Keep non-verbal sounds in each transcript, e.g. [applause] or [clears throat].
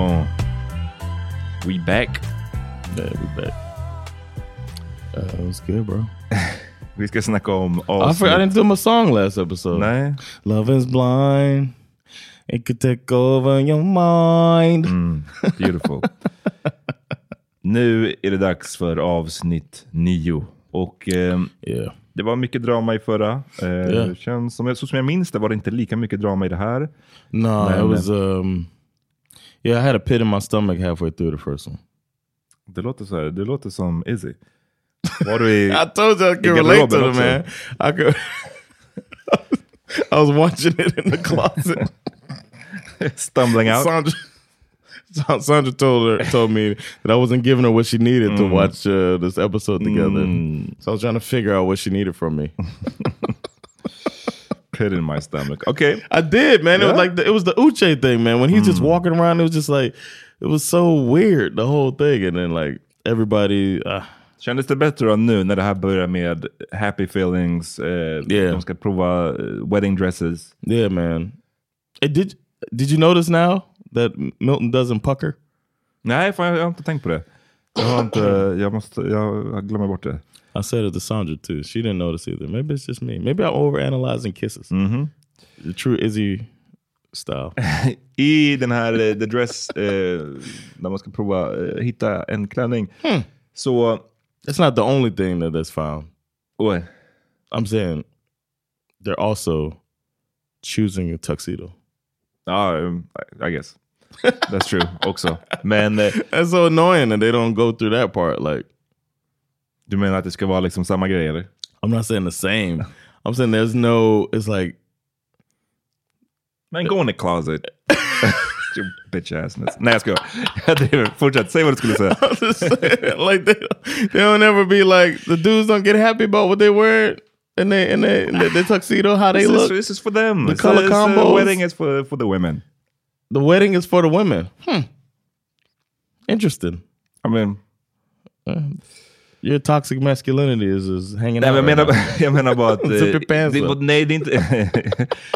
Oh, we back. Yeah, we back. Uh, it was good, bro. [laughs] Vi ska snacka om I, forgot, I avsnitt. didn't do my song last episode. Nej. Love is blind. It could take over your mind. Mm, Beautiful. [laughs] nu är det dags för avsnitt nio. Och ehm, Yeah. det var mycket drama i förra. Eh, Ja. känns som, så som jag minns det var det inte lika mycket drama i det här. No, Man, it was. Um, yeah, I had a [laughs] pit in my stomach halfway through the first one. Det låter så här, det låter som Izzy. Var du i... [laughs] I told you I could You got a relate little to bit the man. [laughs] I could. I was watching it in the closet. [laughs] [laughs] stumbling out? Sandra, Sa- Sandra told her told me that I wasn't giving her what she needed to watch uh, this episode together. So I was trying to figure out what she needed from [laughs] me. Pit in my stomach. Okay. I did, man. It Yeah? was like the, it was the Uche thing, man. When he was just walking around, it was just like it was so weird the whole thing. And then like everybody, uh, Kändes det bättre då nu när det här börjar med happy feelings? Eh, Yeah. De ska prova eh, wedding dresses. yeah, man. It did did you notice now that Milton doesn't pucker? Nej, fan, jag har inte tänkt på det. Jag, har inte, [clears throat] jag, måste, jag glömmer bort det. I said it to Sandra too. She didn't notice either. Maybe it's just me. Maybe I'm overanalyzing kisses. Mm-hmm. The true Izzy style. [laughs] I den här eh, The Dress, eh, när man ska prova eh, hitta en klänning, Hmm. så... [laughs] That's not the only thing that that's found. Oj. I'm saying they're also choosing a tuxedo. Ja, um, I- I guess. That's [laughs] true också. Men eh, That's so annoying that they don't go through that part. Like, du menar att det ska vara liksom samma grej eller? I'm not saying the same. I'm saying there's no, it's like, Men go in the closet. [laughs] Your bitch assness. Nej jag skojar. Jag driver. Fortsätt, säg vad du skulle [laughs] säga. I'm just saying, like they, they don't ever be like, the dudes don't get happy about what they wear and they, and they, and they, the tuxedo, how they This is, look. this is for them. The This color is, uh, combos. wedding is for, for the women. The wedding is for the women. Hmm. Interesting. I mean, Your toxic masculinity is, is hanging Nej, out. men jag, menar, right [laughs] now. jag menar bara [laughs] att... eh, Zip your pants det, up. nej, det är inte...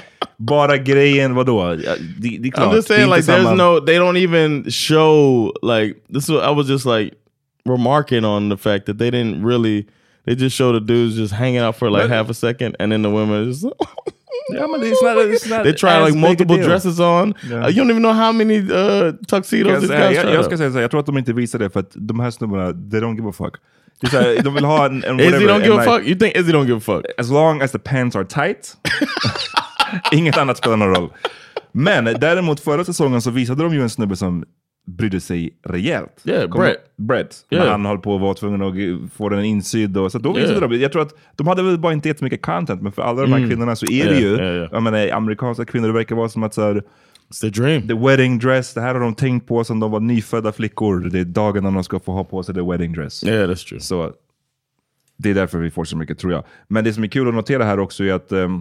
[laughs] bara grejen, vadå? Ja, Det, det är klart. I'm just det är saying, inte like, samma- there's no, they don't even show, like, this was, I was just, like, remarking on the fact that they didn't really, they just show the dudes just hanging out for, like, But- half a second, and then the women just, Ja, men it's not- it's not they try, as like, big a multiple deal. dresses on. Yeah. Uh, you don't even know how many uh, Jag, tuxedos kan this säga, guy's jag, tried jag out. ska säga så här, jag tror att de inte visar det för att de här snubbarna, they don't give a fuck. Det är så här, de vill ha en, en whatever. Izzy don't and give a like, fuck? You think Izzy don't give a fuck? [laughs] As long as the pants are tight. Inget annat spelar någon roll. Men däremot förra säsongen så visade de ju en snubbe som brydde sig rejält. Yeah, Kommer- Brett. Brett. Yeah. När han höll på och var tvungen att g- få den insydd. Och, så då visade Yeah. de, jag tror att de hade väl bara inte jättemycket content, men för alla Mm. de här kvinnorna så är det Yeah, ju, yeah, yeah. jag menar amerikanska kvinnor, det verkar vara som att så här, It's the dream. the wedding dress, det här har de tänkt på sedan de var nyfödda flickor. Det är dagen när de ska få ha på sig the wedding dress. yeah, that's true. Så det är därför vi får så mycket tror jag. Men det som är kul att notera här också är att ehm,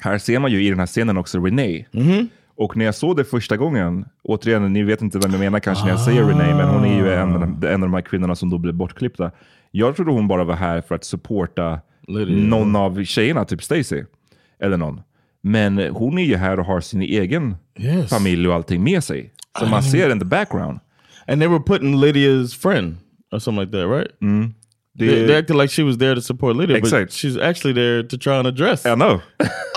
här ser man ju i den här scenen också Renee. Mhm. Och när jag såg det första gången, återigen, ni vet inte vem jag menar kanske när jag säger Renee, men hon är ju en, Ah. av- en av de här kvinnorna som då blev bortklippta. Jag trodde hon bara var här för att supporta Lydia. någon av tjejerna, typ Stacy eller någon. Men hon är ju här och har sin egen Yes. Ah, familj och allting med sig. Som man ser in the background. And they were putting Lydia's friend or something like that, right? Mm-hmm. They, they acted like she was there to support Lydia, Exact. but she's actually there to try on a dress. I [laughs] know.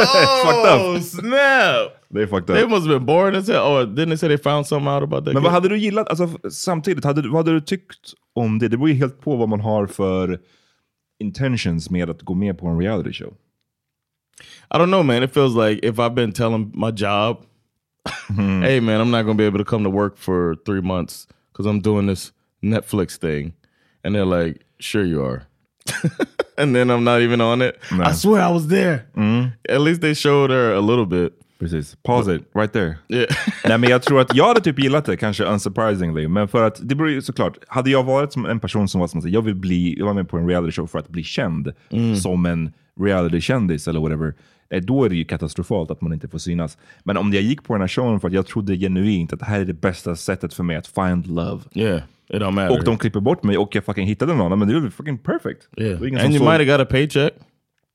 Oh, snap! They fucked up. They must have been bored as hell. Oh, didn't they say they found something out about that? Men vad kid? hade du gillat, alltså, f- samtidigt, hade, du- vad hade du tyckt om det? Det beror ju helt på vad man har för intentions med att gå med på en reality show. I don't know, man. It feels like if I've been telling my job, hey, man, I'm not going to be able to come to work for three months because I'm doing this Netflix thing. And they're like, sure you are. [laughs] and then I'm not even on it. I swear I was there. At least they showed her a little bit. Mm-hmm. Precis. Pause it, right there. Yeah. [laughs] Nej men jag tror att jag hade typ gillat det, kanske unsurprisingly. Men för att, det beror ju såklart, hade jag varit som en person som var som att jag vill bli, jag var med på en reality show för att bli känd Mm. som en reality-kändis eller whatever. eh, Då är det ju katastrofalt att man inte får synas. Men om jag gick på den här showen för att jag trodde genuint att det här är det bästa sättet för mig att find love. yeah. It don't matter. Och de klipper bort mig och jag fucking hittade någon. Men det är väl fucking perfect. Det var yeah. ingen som And you såg- might have got a paycheck.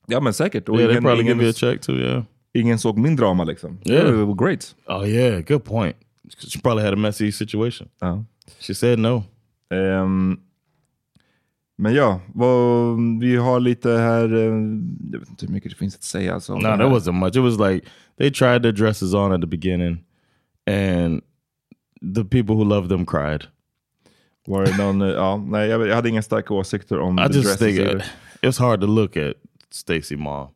Ja men säkert. Och Yeah, they ingen, probably give you ingen, a check too. Yeah. ingen såg min drama liksom. Yeah. Det var great. Oh, yeah. Good point. She probably had a messy situation. Ja. She said no. Um, Ehm, men ja, vad, vi har lite här... ehm, Jag vet inte hur mycket det finns att säga. Alltså, om No, det there här. wasn't much. It was like they tried their dresses on at the beginning, and the people who loved them cried. Var det någon, eh, ja, nej, jag, jag hade inga starka åsikter om I the dresses just think either. uh, it's hard to look at Stacy mom.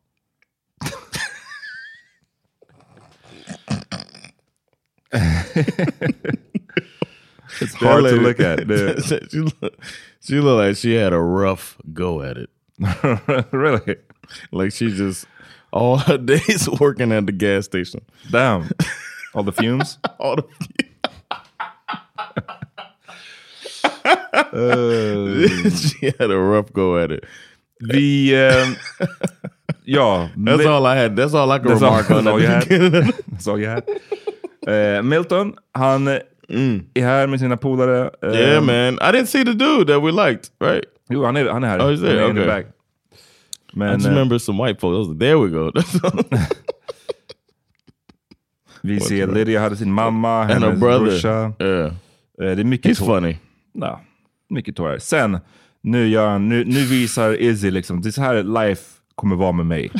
It's hard to look at. [laughs] Det- she, look, she looked like she had a rough go at it. [laughs] really? Like she just all [laughs] her days working at the gas station. Damn. All the fumes? [laughs] All the, Eh, [laughs] she had a rough go at it. vi... [laughs] ehm, ja. That's men- all I had. That's all I could That's all- remark on. that's all you had? at the beginning. [laughs] såg jag här. Eh, Milton, han eh, är här med sina polare. Eh, Mm. yeah, man. I didn't see the dude that we liked, right? Jo, han är, han är här. Oh, he's Han there. är in the Okay. back. Men I just eh, remember some white folks. I was like, there we go. [laughs] [laughs] vi ser Lydia hade sin mamma, And her hennes brorsa. brother. Yeah. Eh, det är mycket He's tår. funny. Ja, mycket tårar. Sen, nu, gör han, nu, nu visar Izzy liksom, det är så här life kommer vara med [laughs] mig.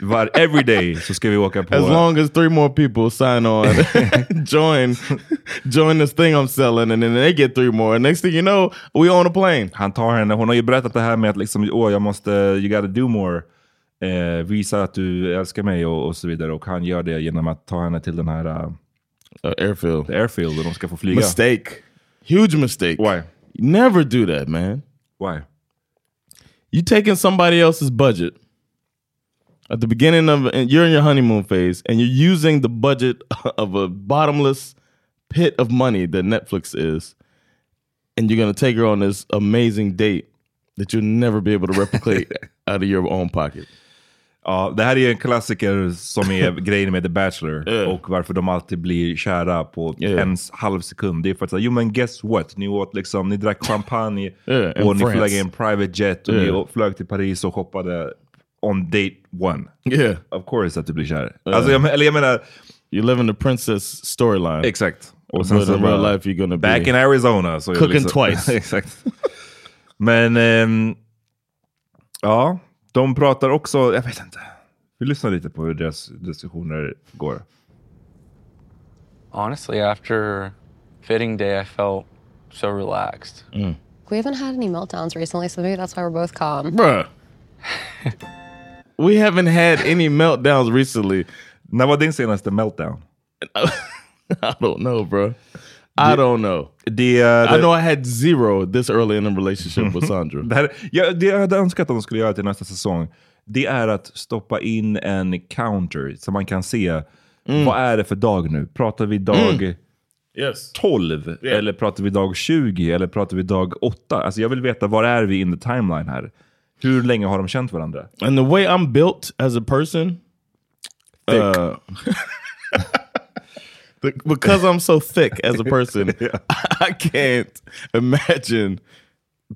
Var, every day så ska vi åka på... As long as three more people [laughs] sign on, [laughs] join join this thing I'm selling, and then they get three more. And next thing you know, we on a plane. Han tar henne, hon har ju berättat det här med att liksom, åh, jag måste, you gotta do more. Eh, visa att du älskar mig och, och så vidare. Och han gör det genom att ta henne till den här eh, Uh, airfield. airfield och de ska få flyga. Mistake. Huge mistake. Why? Never do that, man. Why? You taking somebody else's budget at the beginning of and you're in your honeymoon phase and you're using the budget [laughs] of a bottomless pit of money that Netflix is, and you're gonna take her on this amazing date that you'll never be able [laughs] to replicate out of your own pocket. Ja, det här är ju en klassiker som är grejen med The Bachelor och varför de alltid blir kära på Yeah. en s- halv sekund. Det är för att säga, jo men guess what? Ni åt liksom, ni drack champagne Yeah, in och ni France. flög i en private jet och Yeah. ni flög till Paris och hoppade on date one. Yeah. Of course att du blir kär. Alltså, jag, men- eller jag menar, You're living the princess storyline. Exakt. Och But in real life you're gonna back be in Arizona. Så är det [laughs] Cooking twice. Exakt. Men ehm, ja, de pratar också, jag vet inte. Vi lyssnar lite på hur deras diskussioner går. Honestly, after fitting day, I felt so relaxed. We haven't had any meltdowns recently, so maybe that's why we're both calm. Bruh. we haven't had any meltdowns recently. När var din senaste meltdown? [laughs] I don't know, bro. I don't know. Det, eh, det, I know I had zero this early in a relationship with Sandra. Mm-hmm. det, här, ja, det jag hade önskat att de skulle göra till nästa säsong, det är att stoppa in en counter så man kan se Mm. vad är det för dag nu? Pratar vi dag... Yes. 12? Eller pratar vi dag 20? Eller pratar vi dag 8? Alltså jag vill veta, var är vi in the timeline här? Hur länge har de känt varandra? And the way I'm built as a person, Thick. uh, [laughs] the- because I'm so thick as a person, [laughs] I can't imagine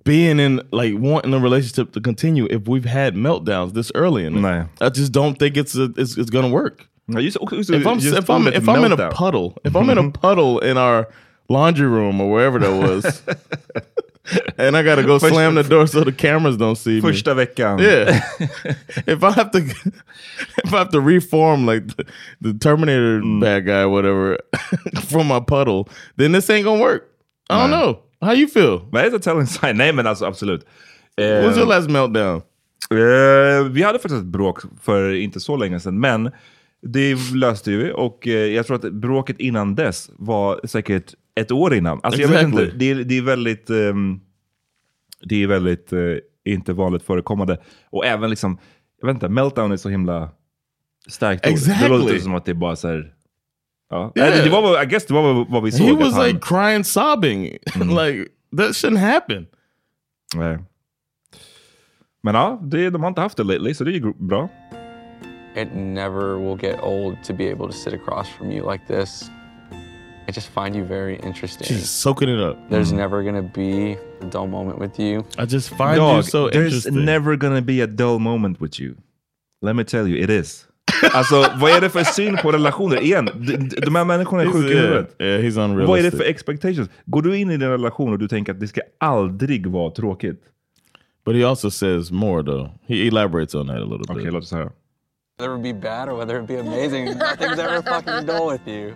being in like wanting a relationship to continue if we've had meltdowns this early. In it. Nej. I just don't think it's a, it's, it's gonna work. Ja, just, också, If I'm just if I'm ordet if I'm in a meltdown. puddle, if I'm in a puddle in our laundry room or wherever that [laughs] was, [laughs] and I gotta go First- slam the door so the cameras don't see me. Första veckan. [laughs] Yeah. [laughs] if I have to, [laughs] if I have to reform like the, the Terminator Mm. bad guy, or whatever, [laughs] from my puddle, then this ain't gonna work. I don't know. How you feel? Vad är det telling sign? Nej men alltså absolut. What was Eh, your last meltdown? Eh, vi hade faktiskt ett bråk för inte så länge sedan, men det löste vi. Och eh, jag tror att bråket innan dess var säkert ett år innan. Alltså jag Exactly. vet inte, det är, det är väldigt, ehm, det är väldigt eh, inte vanligt förekommande. Och även liksom, jag vet inte, meltdown är så himla starkt ord. Exactly. Det låter som att det är bara så här... Ja. Yeah. Eh, Det var, vad- I guess det var vad- vad vi såg. He att was han- like crying, [laughs] sobbing, Mm. [laughs] like that [laughs] shouldn't happen. Nej. Men ja, det, de har inte haft det lately, så det är ju gr- bra. It never will get old to be able to sit across from you like this. I just find you very interesting. She's soaking it up. Mm. There's never gonna be a dull moment with you. I just find you Dog, so there's interesting. never gonna be a dull moment with you. Let me tell you, it is. Alltså, vad är det för syn på relationer? Igen, d- d- de här människorna är he's, sjuka i yeah, huvudet. yeah, he's Vad är det unrealistic. för expectations? Går du in i din relation och du tänker att det ska aldrig vara tråkigt? But he also says more though. He elaborates on that a little Okej, bit. låt oss höra. Whether it be bad or whether it be amazing, nothing's ever fucking dull with you.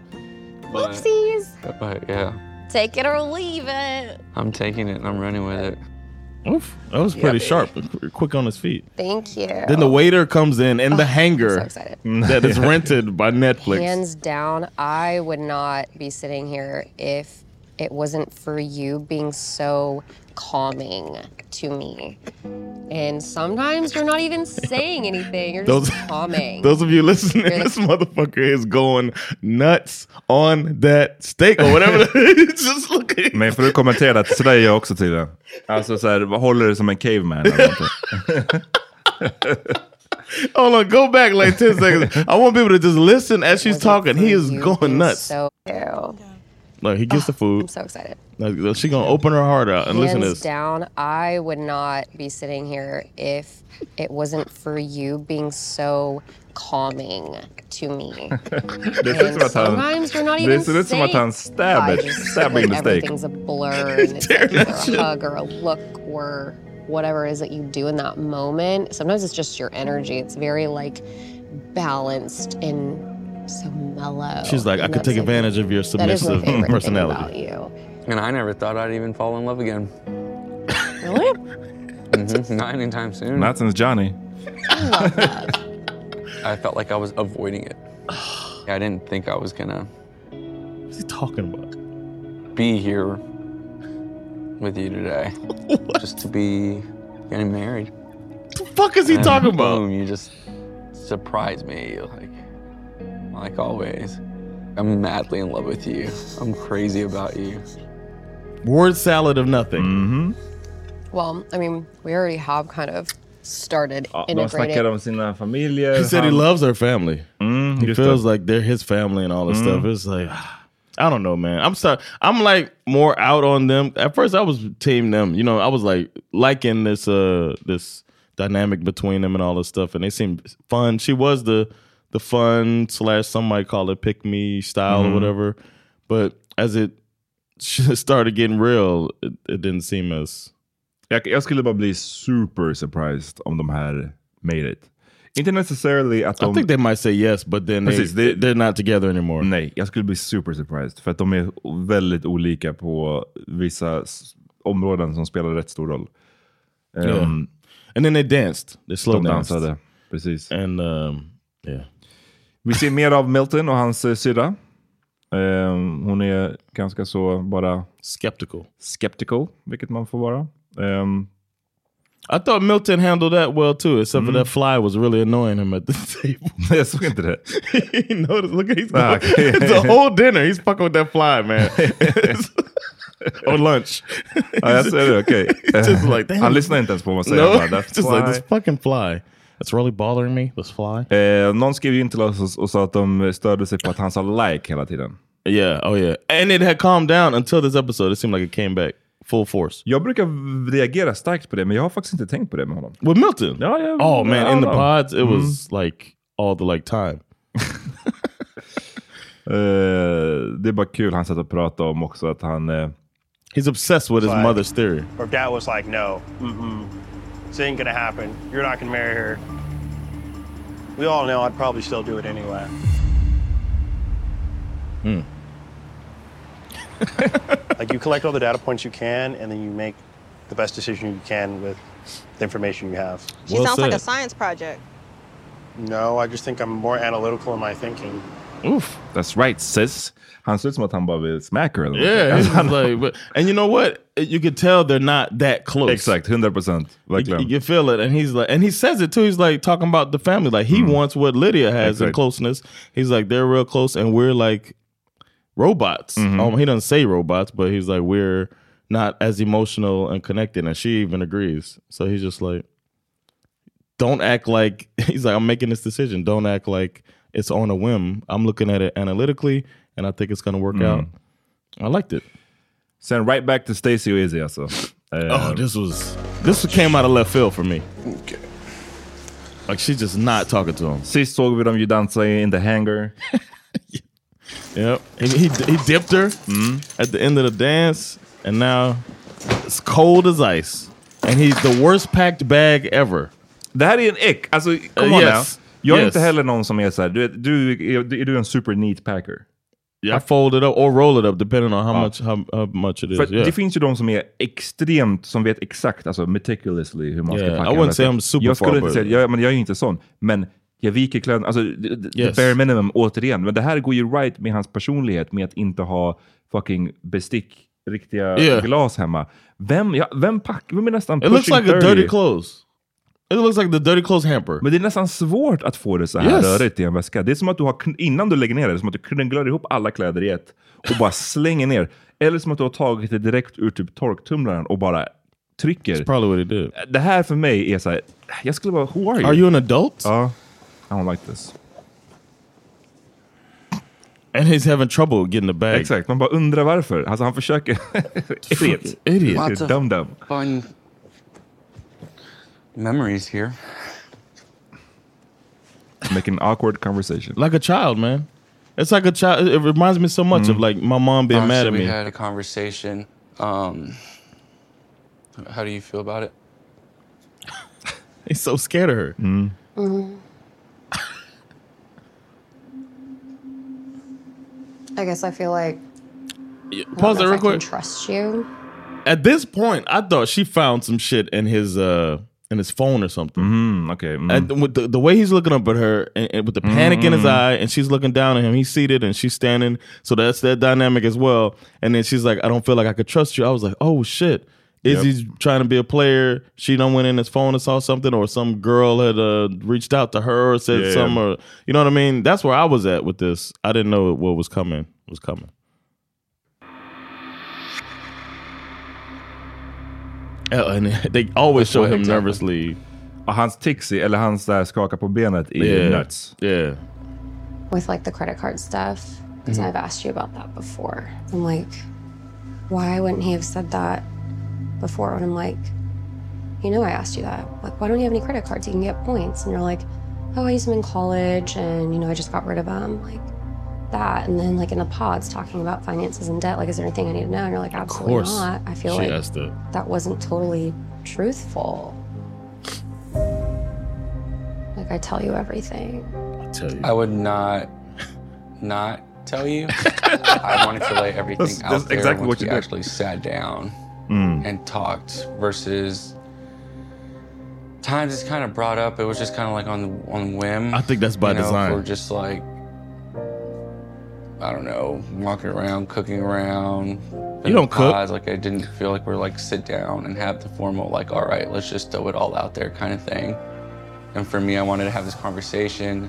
But, Oopsies. but yeah, Take it or leave it. I'm I'm taking it and I'm running with it. Oof, that was pretty sharp, and qu- quick on his feet. Thank you. Then the waiter comes in in the Oh, so hanger excited. [laughs] that is rented by Netflix. Hands down, I would not be sitting here if it wasn't for you being so calming to me. And sometimes you're not even saying anything, you're just Those- calming. [laughs] Those of you listening, Really? this motherfucker is going nuts on that steak or [laughs] whatever. He's [laughs] just looking. Men för att kommentera att sådär är jag också tydligen. Alltså så här, vad håller du som en caveman? eller någonting? Hold on, go back [laughs] like 10 seconds. I want people to just listen as she's Was it talking. for He is you going being nuts. So cute. Oh, Look, he gets the I'm food. so excited. Like, she gonna open her heart out and listen to Hands this. down, I would not be sitting here if it wasn't for you being so calming to me. [laughs] Det ser ut som att han... Sometimes you're not Det even ser ut som att han saying- stabber- I just- stabbing like, the steak. Everything's a blur. [laughs] And it's Tearing like that either shit. a hug or a look or whatever it is that you do in that moment. Sometimes it's just your energy. It's very like balanced and so mellow. She's like, I And could that's, take like, advantage of your That is my submissive favorite personality. thing about you. And I never thought I'd even fall in love again. Really? Mhm, Not anytime soon. Not since Johnny. I felt like I was avoiding it. I didn't think I was gonna What's he talking about? be here with you today. Just to be getting married. fuck is he And talking about? Boom, you just surprise me like like always. I'm madly in love with you. I'm crazy about you. Word salad of nothing. Mm-hmm. Well, I mean, we already have kind of started Uh, Ja, de integrating. snackar om sina familjer. He said he Han- loves her family. he Mm, just Mm. feels like they're his family and all this stuff. It's like [sighs] I don't know, man. I'm sorry. I'm like more out on them. At first, I was team them. You know, I was like liking this uh this dynamic between them and all this stuff, and they seemed fun. She was the the fun slash some might call it pick me style Mm-hmm. or whatever. But as it [laughs] started getting real, it, it didn't seem as Jag, jag skulle bara bli super surprised om de här made it. Inte necessarily att I de... think they might say yes, but then they, Precis, det- they're not together anymore. Nej, jag skulle bli super surprised. För att de är väldigt olika på vissa s- områden som spelar rätt stor roll. Ehm, Yeah. And then they danced. They slow de danced. dansade. Precis. And um, yeah. Vi ser mer av Milton och hans eh, syrra. Ehm, hon är ganska så bara Skeptical. skeptical, vilket man får vara. Ehm, Um, I thought Milton handled that well too, except for that fly was really annoying him at the [laughs] table. jag såg inte det. [laughs] he noticed. Look, at he's Ah, going, [laughs] okay. the whole dinner. He's fucking with that fly, [laughs] man. or lunch. Ja, jag ser det, [laughs] okej. just like, damn. Han lyssnar inte ens på vad man säger. no, Han bara, "That's [laughs] just like why." this fucking fly. That's really bothering me. This fly. Eh, någon skrev ju in till oss och, och sa att de störde sig på att han sa like hela tiden. Yeah. Oh yeah. And it had calmed down until this episode. It seemed like it came back full force Jag brukar v- reagera starkt på det, men jag har faktiskt inte tänkt på det med honom. with Milton. Ja, Mm. jag, Oh man, I in the don't know. pods, it was like all the like [laughs] time. Eh, det är bara kul han satt och pratade om också att han... eh, He's obsessed with his Fly. mother's theory. Her dad was like, no, mm-mm, this ain't gonna happen. You're not gonna marry her. We all know I'd probably still do it anyway. Hmm. like you collect all the data points you can, and then you make the best decision you can with the information you have. She Well sounds like a said. science project. No, I just think I'm more analytical in my thinking. Oof, that's right sis. Han ser ut som att han bara vill smack her. eller [laughs] Yeah, någonting. he's just like, but, [laughs] and you know what? You could tell they're not that close. Exakt, 100 procent. You, Verkligen. you can feel it, and he's like, and he says it too. He's like talking about the family, like he wants what Lydia has in Exactly. closeness. He's like they're real close, and we're like robots. Um, he doesn't say robots, but he's like we're not as emotional and connected, and she even agrees. So he's just like, don't act like [laughs] he's like I'm making this decision. Don't act like it's on a whim. I'm looking at it analytically, and I think it's gonna work out. I liked it. Sen Mm. right back to Stacy och Izzy alltså. Eh, Oh, this was this came out of left field for me. Like she's just not talking to him. Sist såg vi dem ju dansa in the hangar. [laughs] Yep. He he, he dipped her Mm. at the end of the dance, and now it's cold as ice. And he's the worst packed bag ever. Det här är en ick. Alltså, come Eh, on yes. now. Jag är Yes. inte heller någon som är såhär, du, vet, du, är, är du en super neat packer? I fold it up or roll it up, depending on how much how, how much it is. För att Yeah. det finns ju de som är extremt, som vet exakt, alltså meticulously hur man Yeah, ska packa. I wouldn't Alltså, say I'm super jag skulle inte forward. säga, jag, men jag är ju inte sån. Men jag viker kläderna, alltså the, the- the Yes. bare minimum återigen. Men det här går ju right med hans personlighet, med att inte ha fucking bestick, riktiga Yeah. glas hemma. Vem, ja, vem packar, vem är nästan It looks pushing like a dirty clothes. It looks like the dirty clothes hamper. Men det är nästan svårt att få det så här Yes. rörigt i en väska. Det är som att du har, kn- innan du lägger ner det, det är som att du knögglar ihop alla kläder i ett och bara slänger ner. Eller som att du har tagit det direkt ur typ torktumlaren och bara trycker. Probably what he did. Det här för mig är så här, jag skulle vara, who are you? Are you an adult? Ja. I don't like this. and he's having trouble getting the bag. Exakt, man bara undrar varför. Alltså han försöker. [laughs] Idiot. Idiot. Idiot. Dum dum. Fun memories here. Make an awkward conversation. like a child, man. It's like a child. It reminds me so Mm. much of like my mom being mad Honestly, at me. Oh, We had a conversation. Um, how do you feel about it? He's so scared of her. Mm. Mm-hmm. I guess I feel like I Pause it don't know if real I can quick. trust you. At this point, I thought she found some shit in his uh in his phone or something. Mm, okay. Mm. And with the, the way he's looking up at her, and, and with the panic in Mm-hmm. his eye, and she's looking down at him. He's seated and she's standing. So that's that dynamic as well. And then she's like, "I don't feel like I could trust you." I was like, "Oh shit." Izzy's trying to be a player. She done went in his phone and saw something, or some girl had uh, reached out to her or said Yeah. something, or you know what I mean. That's where I was at with this. I didn't know what was coming. Was coming. Uh, and [laughs] they always show what him exactly. nervously. Och hans tixi, eller hans där skaka på benet, är Yeah. nuts. Yeah. with like the credit card stuff because Mm-hmm. I've asked you about that before. I'm like, why wouldn't he have said that before? And I'm like, you know, I asked you that. Like, why don't you have any credit cards? You can get points. And you're like, oh, I used them in college, and you know, I just got rid of them. Like that. And then like in the pods talking about finances and debt. Like, is there anything I need to know? And you're like, absolutely course. not. I feel She like asked it. that wasn't totally truthful. Like I tell you everything. I tell you. I would not, not tell [laughs] you. I wanted to lay everything That's- out that's there exactly once what we you did. Mm. actually sat down and talked. Versus times it's kind of brought up. It was just kind of like on on whim. I think that's by you know, if design. We're just like, I don't know, walking around, cooking around. You don't cook. Pods. Like I didn't feel like we're like sit down and have the formal like, all right, let's just throw it all out there kind of thing. And for me, I wanted to have this conversation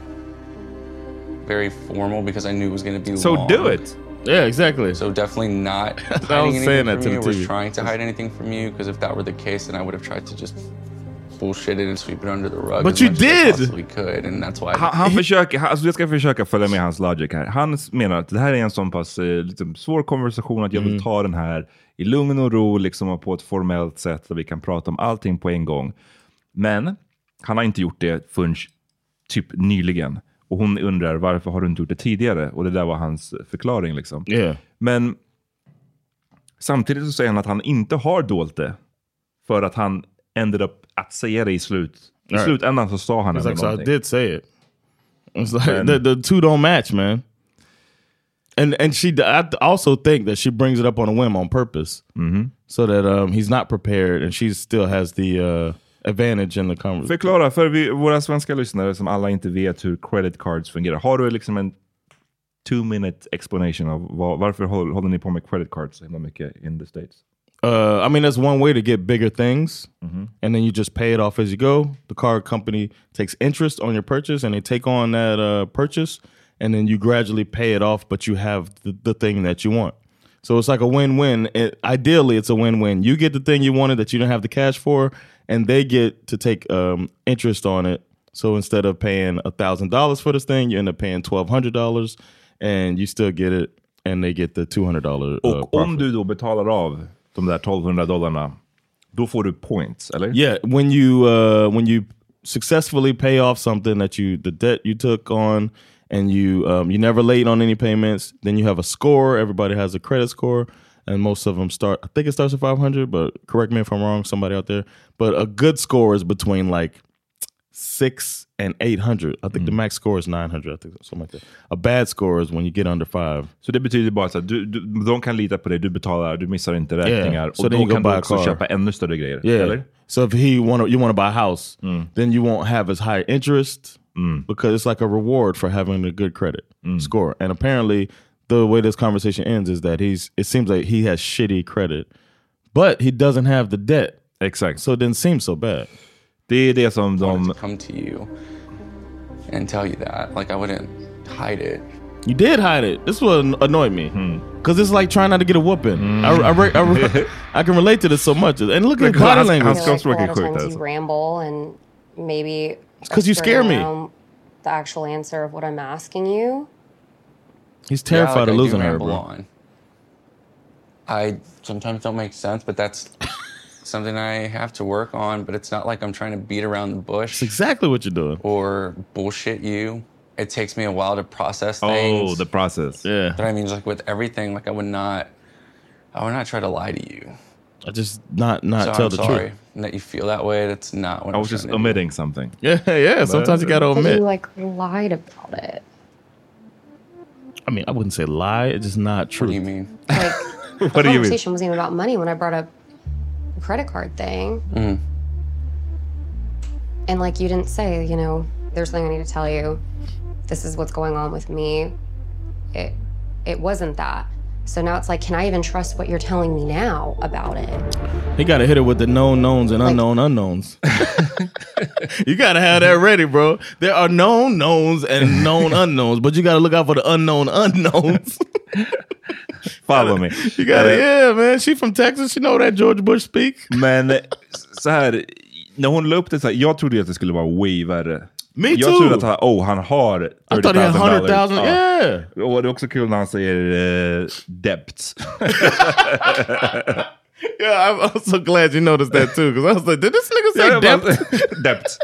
very formal because I knew it was going to be So long. do it. Yeah, exactly. So definitely [laughs] not hiding I was anything saying that from to the you. or TV. trying to hide anything from you because if that were the case, then I would have tried to just bullshit it and sweep it under the rug. But as you much as I did! possibly could, and that's why. I Han, han försöker, han, alltså jag ska försöka följa med hans logic här. Han s- menar att det här är en sån pass eh, liksom, svår konversation att jag Mm. vill ta den här i lugn och ro liksom, och på ett formellt sätt där vi kan prata om allting på en gång. Men han har inte gjort det förrän typ nyligen. Och hon undrar varför har du inte gjort det tidigare? Och det där var hans förklaring. Liksom. yeah. Men samtidigt så säger han att han inte har dolt det. För att han ended up att säga det i slut. I Right. slutändan så sa han It's ändå like, so I någonting. did say it. It's like And- the, the two don't match, man. And and she, I also think that she brings it up on a whim on purpose, so that um, he's not prepared, and she still has the uh, advantage in the conversation. Förklara för vi, våra svenska lyssnare som alla inte vet hur credit cards fungerar. Har du liksom en two minute explanation av vad, varför håller, håller ni på med credit cards så himla mycket in the States? Uh, I mean, that's one way to get bigger things, and then you just pay it off as you go. The card company takes interest on your purchase, and they take on that uh, purchase, and then you gradually pay it off. But you have the, the thing that you want, so it's like a win-win. It, ideally, it's a win-win. You get the thing you wanted that you didn't have the cash for, and they get to take um, interest on it. So instead of paying a thousand dollars for this thing, you end up paying twelve hundred dollars, and you still get it, and they get the two hundred dollar. Och Uh, om profit. du då betalar av de där 1200 dollarna, då får du points, eller? Yeah, when you uh, when you successfully pay off something that you the debt you took on, and you um, you never late on any payments, then you have a score. Everybody has a credit score, and most of them start. I think it starts at five hundred, but correct me if I'm wrong. Somebody out there, but a good score is between like six and eight hundred. I think the Mm. max score is nine hundred. I think something like that. A bad score is when you get under five. Så det betyder bara att du, du, de kan lita på dig, du betalar, du missar inte räkningar. Och So then då you go kan buy du a också car. köpa ännu större grejer, Yeah. eller? So if he want to, you want to buy a house, then you won't have as high interest because it's like a reward for having a good credit score. And apparently, the way this conversation ends is that he's. It seems like he has shitty credit, but he doesn't have the debt, Exakt. so it didn't seem so bad. det är det som wanted de... to come to you and tell you that. Like I wouldn't hide it. You did hide it. This would annoy me because it's like trying not to get a whooping. I, I, re- I, re- I can relate to this so much. And look at his Because body I- I language. was- feel like a Skånspråk är lot of sjukt, times alltså. you ramble and maybe 'cause skirting you scare me. around The actual answer of what I'm asking you. He's terrified Yeah, like, I of do losing her, ramble bro. on. I sometimes don't make sense, but that's [laughs] something I have to work on. But it's not like I'm trying to beat around the bush. That's exactly what you're doing. or bullshit you. It takes me a while to process things. Oh, the process. Yeah, but I mean, like with everything, like I would not, I would not try to lie to you. I just not not So tell I'm the sorry truth. that you feel that way. That's not what I I'm was just trying to do. omitting something. [laughs] Yeah, yeah. Sometimes you gotta But omit. you like lied about [laughs] it. I mean, I wouldn't say lie. It's just not true. What do you mean? Like What do you mean? conversation wasn't even about money when I brought up the credit card thing. Mm-hmm. And like you didn't say, you know, there's something I need to tell you. This is what's going on with me. It it wasn't that. So now it's like, can I even trust what you're telling me now about it? He gotta hit it with the known knowns and unknown [laughs] unknowns. you gotta have that ready, bro. There are known knowns [laughs] and known unknowns, but you gotta look out for the unknown unknowns. Follow me. [laughs] you gotta, Eh, yeah, man. She from Texas. She know that George Bush speak. Men eh, så här, när hon la upp det så här, jag trodde ju att det skulle vara way värre. Me jag too. trodde att han, oh, han har I thought he had hundred thousand. Ja. Yeah. Och det är också kul när han säger eh, [laughs] debt. Yeah, I'm, I'm so glad you noticed that too. Cause I was like, did this nigga say Jag bara, depth? [laughs] debt.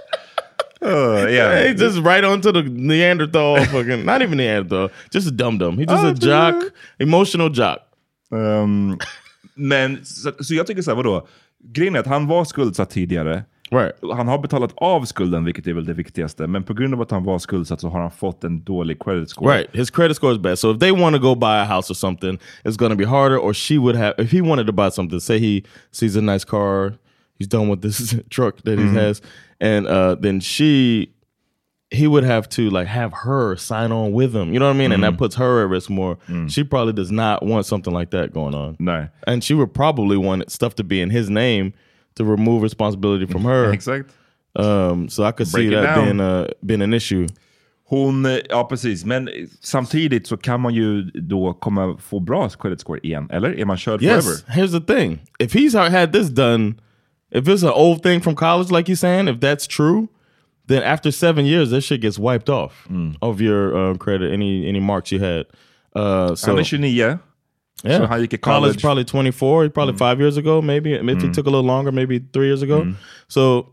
Uh, yeah. He just right onto the Neanderthal fucking not even Neanderthal, just a dum dum. He just Oh, a jock, emotional jock. Ehm, men så, så jag tycker så här, vadå? Grejen är att han var skuldsatt tidigare. Right. Han har betalat av skulden, vilket är väl det viktigaste. Men på grund av att han var skuldsatt så har han fått en dålig credit score. Right. His credit score is bad. So if they want to go buy a house or something, it's going to be harder. Or she would have, if he wanted to buy something, say he sees a nice Mm-hmm. [laughs] car, he's done with this truck that he has, and uh, then she he would have to like have her sign on with him. You know what I mean? And that Mm-hmm. puts her at risk more. Mm. She probably does not want something like that going on. Nej. And she would probably want stuff to be in his name to remove responsibility [laughs] from her. Exakt. Um, so I could Break it see that down. being a being an issue. Hon, eh, ja precis, men eh, samtidigt så kan man ju då komma få bra credit score igen, eller? Är man körd Yes. forever? Here's the thing: if he's ha- had this done, if it's an old thing from college, like you're saying, if that's true, then after seven years, this shit gets wiped off of your uh, credit, any any marks you had. Uh, so Han är 29, yeah. so han gick i college. college probably 24, probably five years ago, maybe. If it took a little longer, maybe three years ago. So,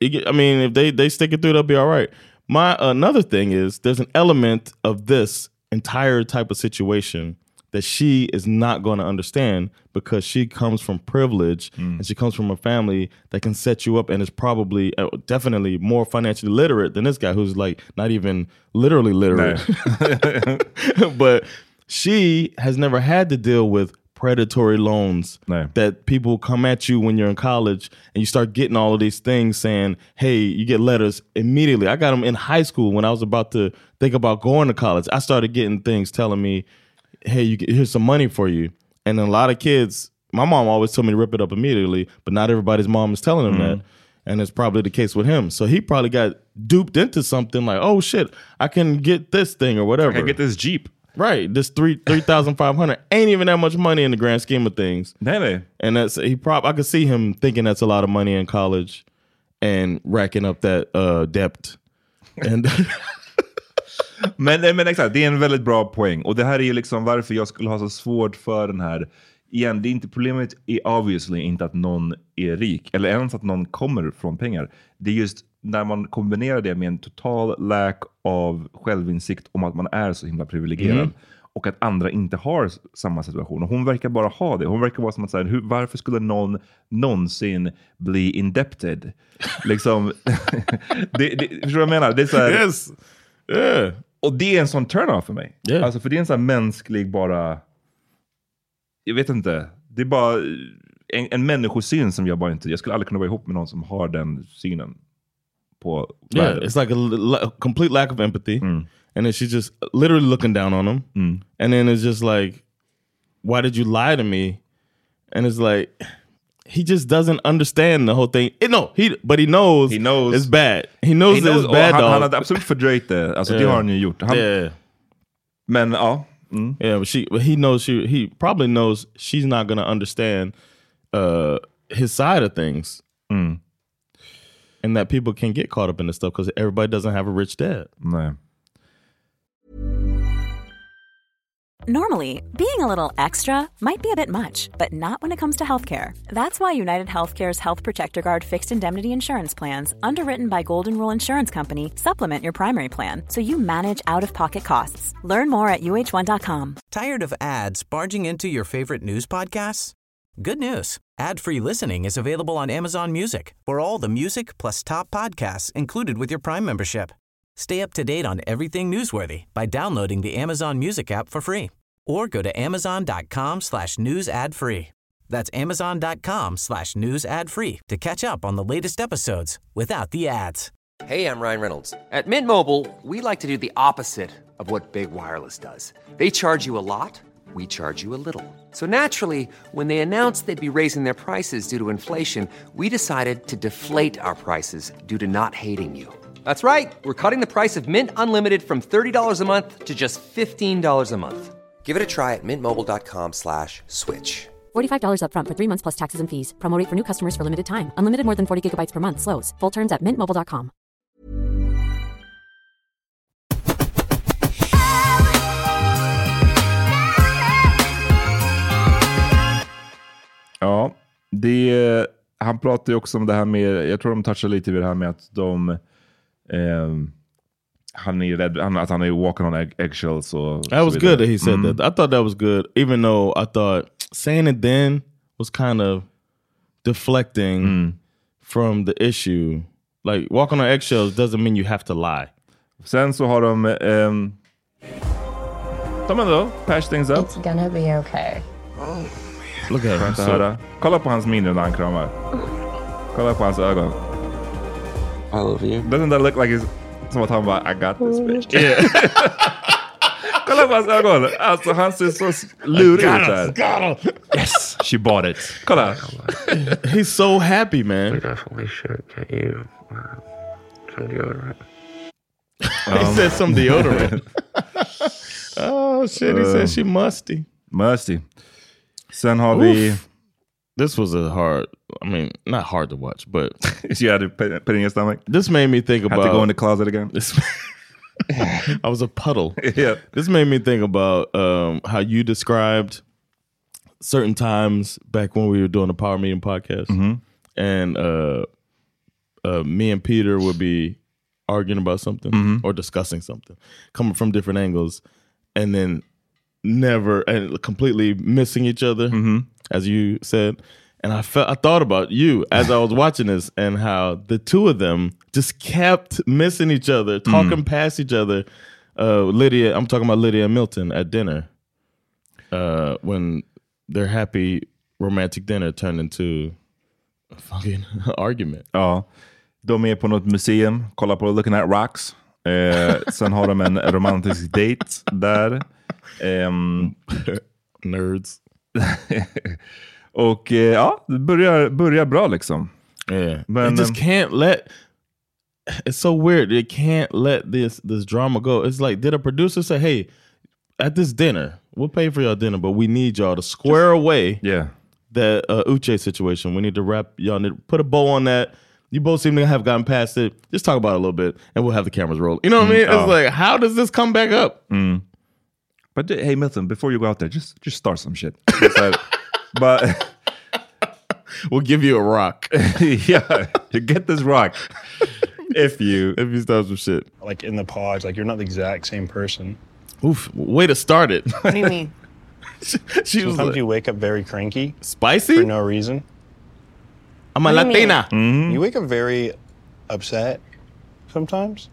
it get- I mean, if they they stick it through, they'll be all right. My another thing is there's an element of this entire type of situation that she is not going to understand because she comes from privilege and she comes from a family that can set you up and is probably uh, definitely more financially literate than this guy who's like not even literally literate. [laughs] but she has never had to deal with predatory loans No. that people come at you when you're in college and you start getting all of these things saying hey you get letters immediately i got them in high school when i was about to think about going to college i started getting things telling me hey you get, here's some money for you and a lot of kids my mom always told me to rip it up immediately but not everybody's mom is telling them Mm-hmm. that and it's probably the case with him so he probably got duped into something like oh shit i can get this thing or whatever I get this jeep. Right. This three three thousand five hundred [laughs] ain't even that much money in the grand scheme of things. Nej, nej. And that's he prob I could see him thinking that's a lot of money in college and racking up that uh debt. [laughs] And Men, nej, men exakt, det är en väldigt bra poäng. Och det här är ju liksom varför jag skulle ha så svårt för den här. Igen, det är inte, problemet är obviously inte att någon är rik, eller ens att någon kommer från pengar. Det är just när man kombinerar det med en total lack av självinsikt om att man är så himla privilegierad. Och att andra inte har s- samma situation. Och hon verkar bara ha det. Hon verkar vara som att, så här, hur, varför skulle någon någonsin bli indebted? Liksom, det, det, förstår du vad jag menar? Det är så här, yes. Yeah. och det är en sån turn-off för mig. Ja. Alltså för det är en sån här mänsklig bara... Jag vet inte. Det är bara en, en människosyn som jag bara inte... Jag skulle aldrig kunna vara ihop med någon som har den synen på Yeah. världen. It's like a, l- a complete lack of empathy. Mm. And then she's just literally looking down on him. And then it's just like, why did you lie to me? And it's like he just doesn't understand the whole thing. Eh, no, he but he knows He knows. it's bad. He knows, He knows- it's och bad. han, han dog. hade absolut fördröjt det. Alltså det Ja. har han ju gjort. Han, yeah, Men ja. Mm. yeah. But she, but he knows she. He probably knows she's not gonna understand uh, his side of things, Mm. and that people can get caught up in this stuff because everybody doesn't have a rich dad. Nej. Normally, being a little extra might be a bit much, but not when it comes to healthcare. That's why United Healthcare's Health Protector Guard fixed indemnity insurance plans, underwritten by Golden Rule Insurance Company, supplement your primary plan so you manage out of pocket costs. Learn more at uh1.com. Tired of ads barging into your favorite news podcasts? Good news. Ad-free listening is available on Amazon Music. For all the music plus top podcasts included with your Prime membership. Stay up to date on everything newsworthy by downloading the Amazon Music app for free or go to amazon.com slash news ad free. That's amazon.com slash news ad free to catch up on the latest episodes without the ads. Hey, I'm Ryan Reynolds. At Mint Mobile, we like to do the opposite of what Big Wireless does. They charge you a lot, we charge you a little. So naturally, when they announced they'd be raising their prices due to inflation, we decided to deflate our prices due to not hating you. That's right. We're cutting the price of Mint Unlimited from $30 a month to just $15 a month. Give it a try at mintmobile.com slash switch. $45 upfront for three months plus taxes and fees. Promo rate for new customers for limited time. Unlimited more than 40 gigabytes per month. Slows. Full terms at mintmobile.com. Ja, det, han pratar ju också om det här med, jag tror de touchar lite vid det här med att de, ehm, han är rädd, han, att han är walking on egg, eggshells och That så was vidare. Mm. good that he said Mm-hmm. that. I thought that was good, even though I thought saying it then was kind of deflecting Mm. from the issue. Like walking on eggshells doesn't mean you have to lie. Sen så har de... ehm, de ändå patch things Oh. up. It's gonna be okay. Look at him. Så So, här, kolla på hans min när han kramar. Kolla på hans ögon. I love you. Doesn't that look like his Som att han bara I got this bitch. [laughs] [laughs] Kolla på hans ögon. Alltså han ser så s- lurig ut Got him, där. Yes, she bought it. Kolla. He's so happy, man. definitely should get you uh, some deodorant. Um, He said [laughs] some deodorant. oh shit, he said she musty. Uh, Musty. Sen har vi... This was a hard, I mean, not hard to watch, but [laughs] you had to put, put in your stomach. This made me think Had about to go in the closet again. [laughs] I was a puddle. [laughs] yeah. This made me think about um, how you described certain times back when we were doing the Power Meeting podcast, and uh, uh, me and Peter would be arguing about something or discussing something, coming from different angles, and then never and completely missing each other, as you said. And I felt I thought about you as I was watching this, and how the two of them just kept missing each other, talking past each other. Uh, Lydia, I'm talking about Lydia and Milton at dinner uh, when their happy romantic dinner turned into a fucking [laughs] argument. Ja. De är på något museum, kollar på Looking at Rocks. Eh, sen har de en romantisk date där. Ehm, Nerds. [laughs] och eh, ja, det börjar, börjar bra liksom. Yeah, Men, they just um, can't let. It's so weird. They can't let this this drama go. It's like, did a producer say, "Hey, at this dinner, we'll pay for y'all dinner, but we need y'all to square away Yeah. that uh, Uche situation. We need to wrap y'all need to put a bow on that. You both seem to have gotten past it. Just talk about it a little bit, and we'll have the cameras roll. You know what I mean? oh. It's like, how does this come back up? mm. But uh, hey Milton, before you go out there, just, just start some shit. Just, [laughs] uh, but [laughs] We'll give you a [laughs] rock if yeah, you [laughs] get this [laughs] rock if you you start some shit. Like in the pods, like you're not the exact same person. Oof, way to start it. What do [laughs] you mean? she was Sometimes like, you wake up very cranky for spicy. no reason. Mm-hmm. I'm a What do you mean? Latina. You wake up very upset sometimes.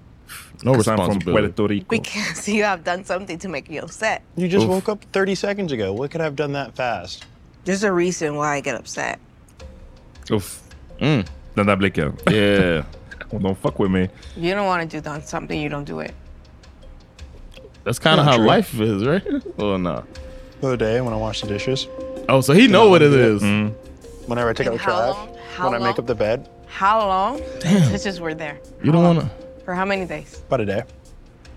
No I'm from responsibility. Puerto Rico. Because you have done something to make me upset. You just woke up 30 seconds ago. What could I have done that fast? There's a reason why I get upset. Uff. Den där blicken. Yeah, [laughs] Don't fuck with me. You don't want to do done something, you don't do it. that's kind of how life is, right? Well, no. The other day when I wash the dishes, Oh, so he know what it is. Mm-hmm. whenever I take out And the how trash, long- how when I make long? up the bed, How long? Damn. This is we're there. You don't want to. For how many days? about a day,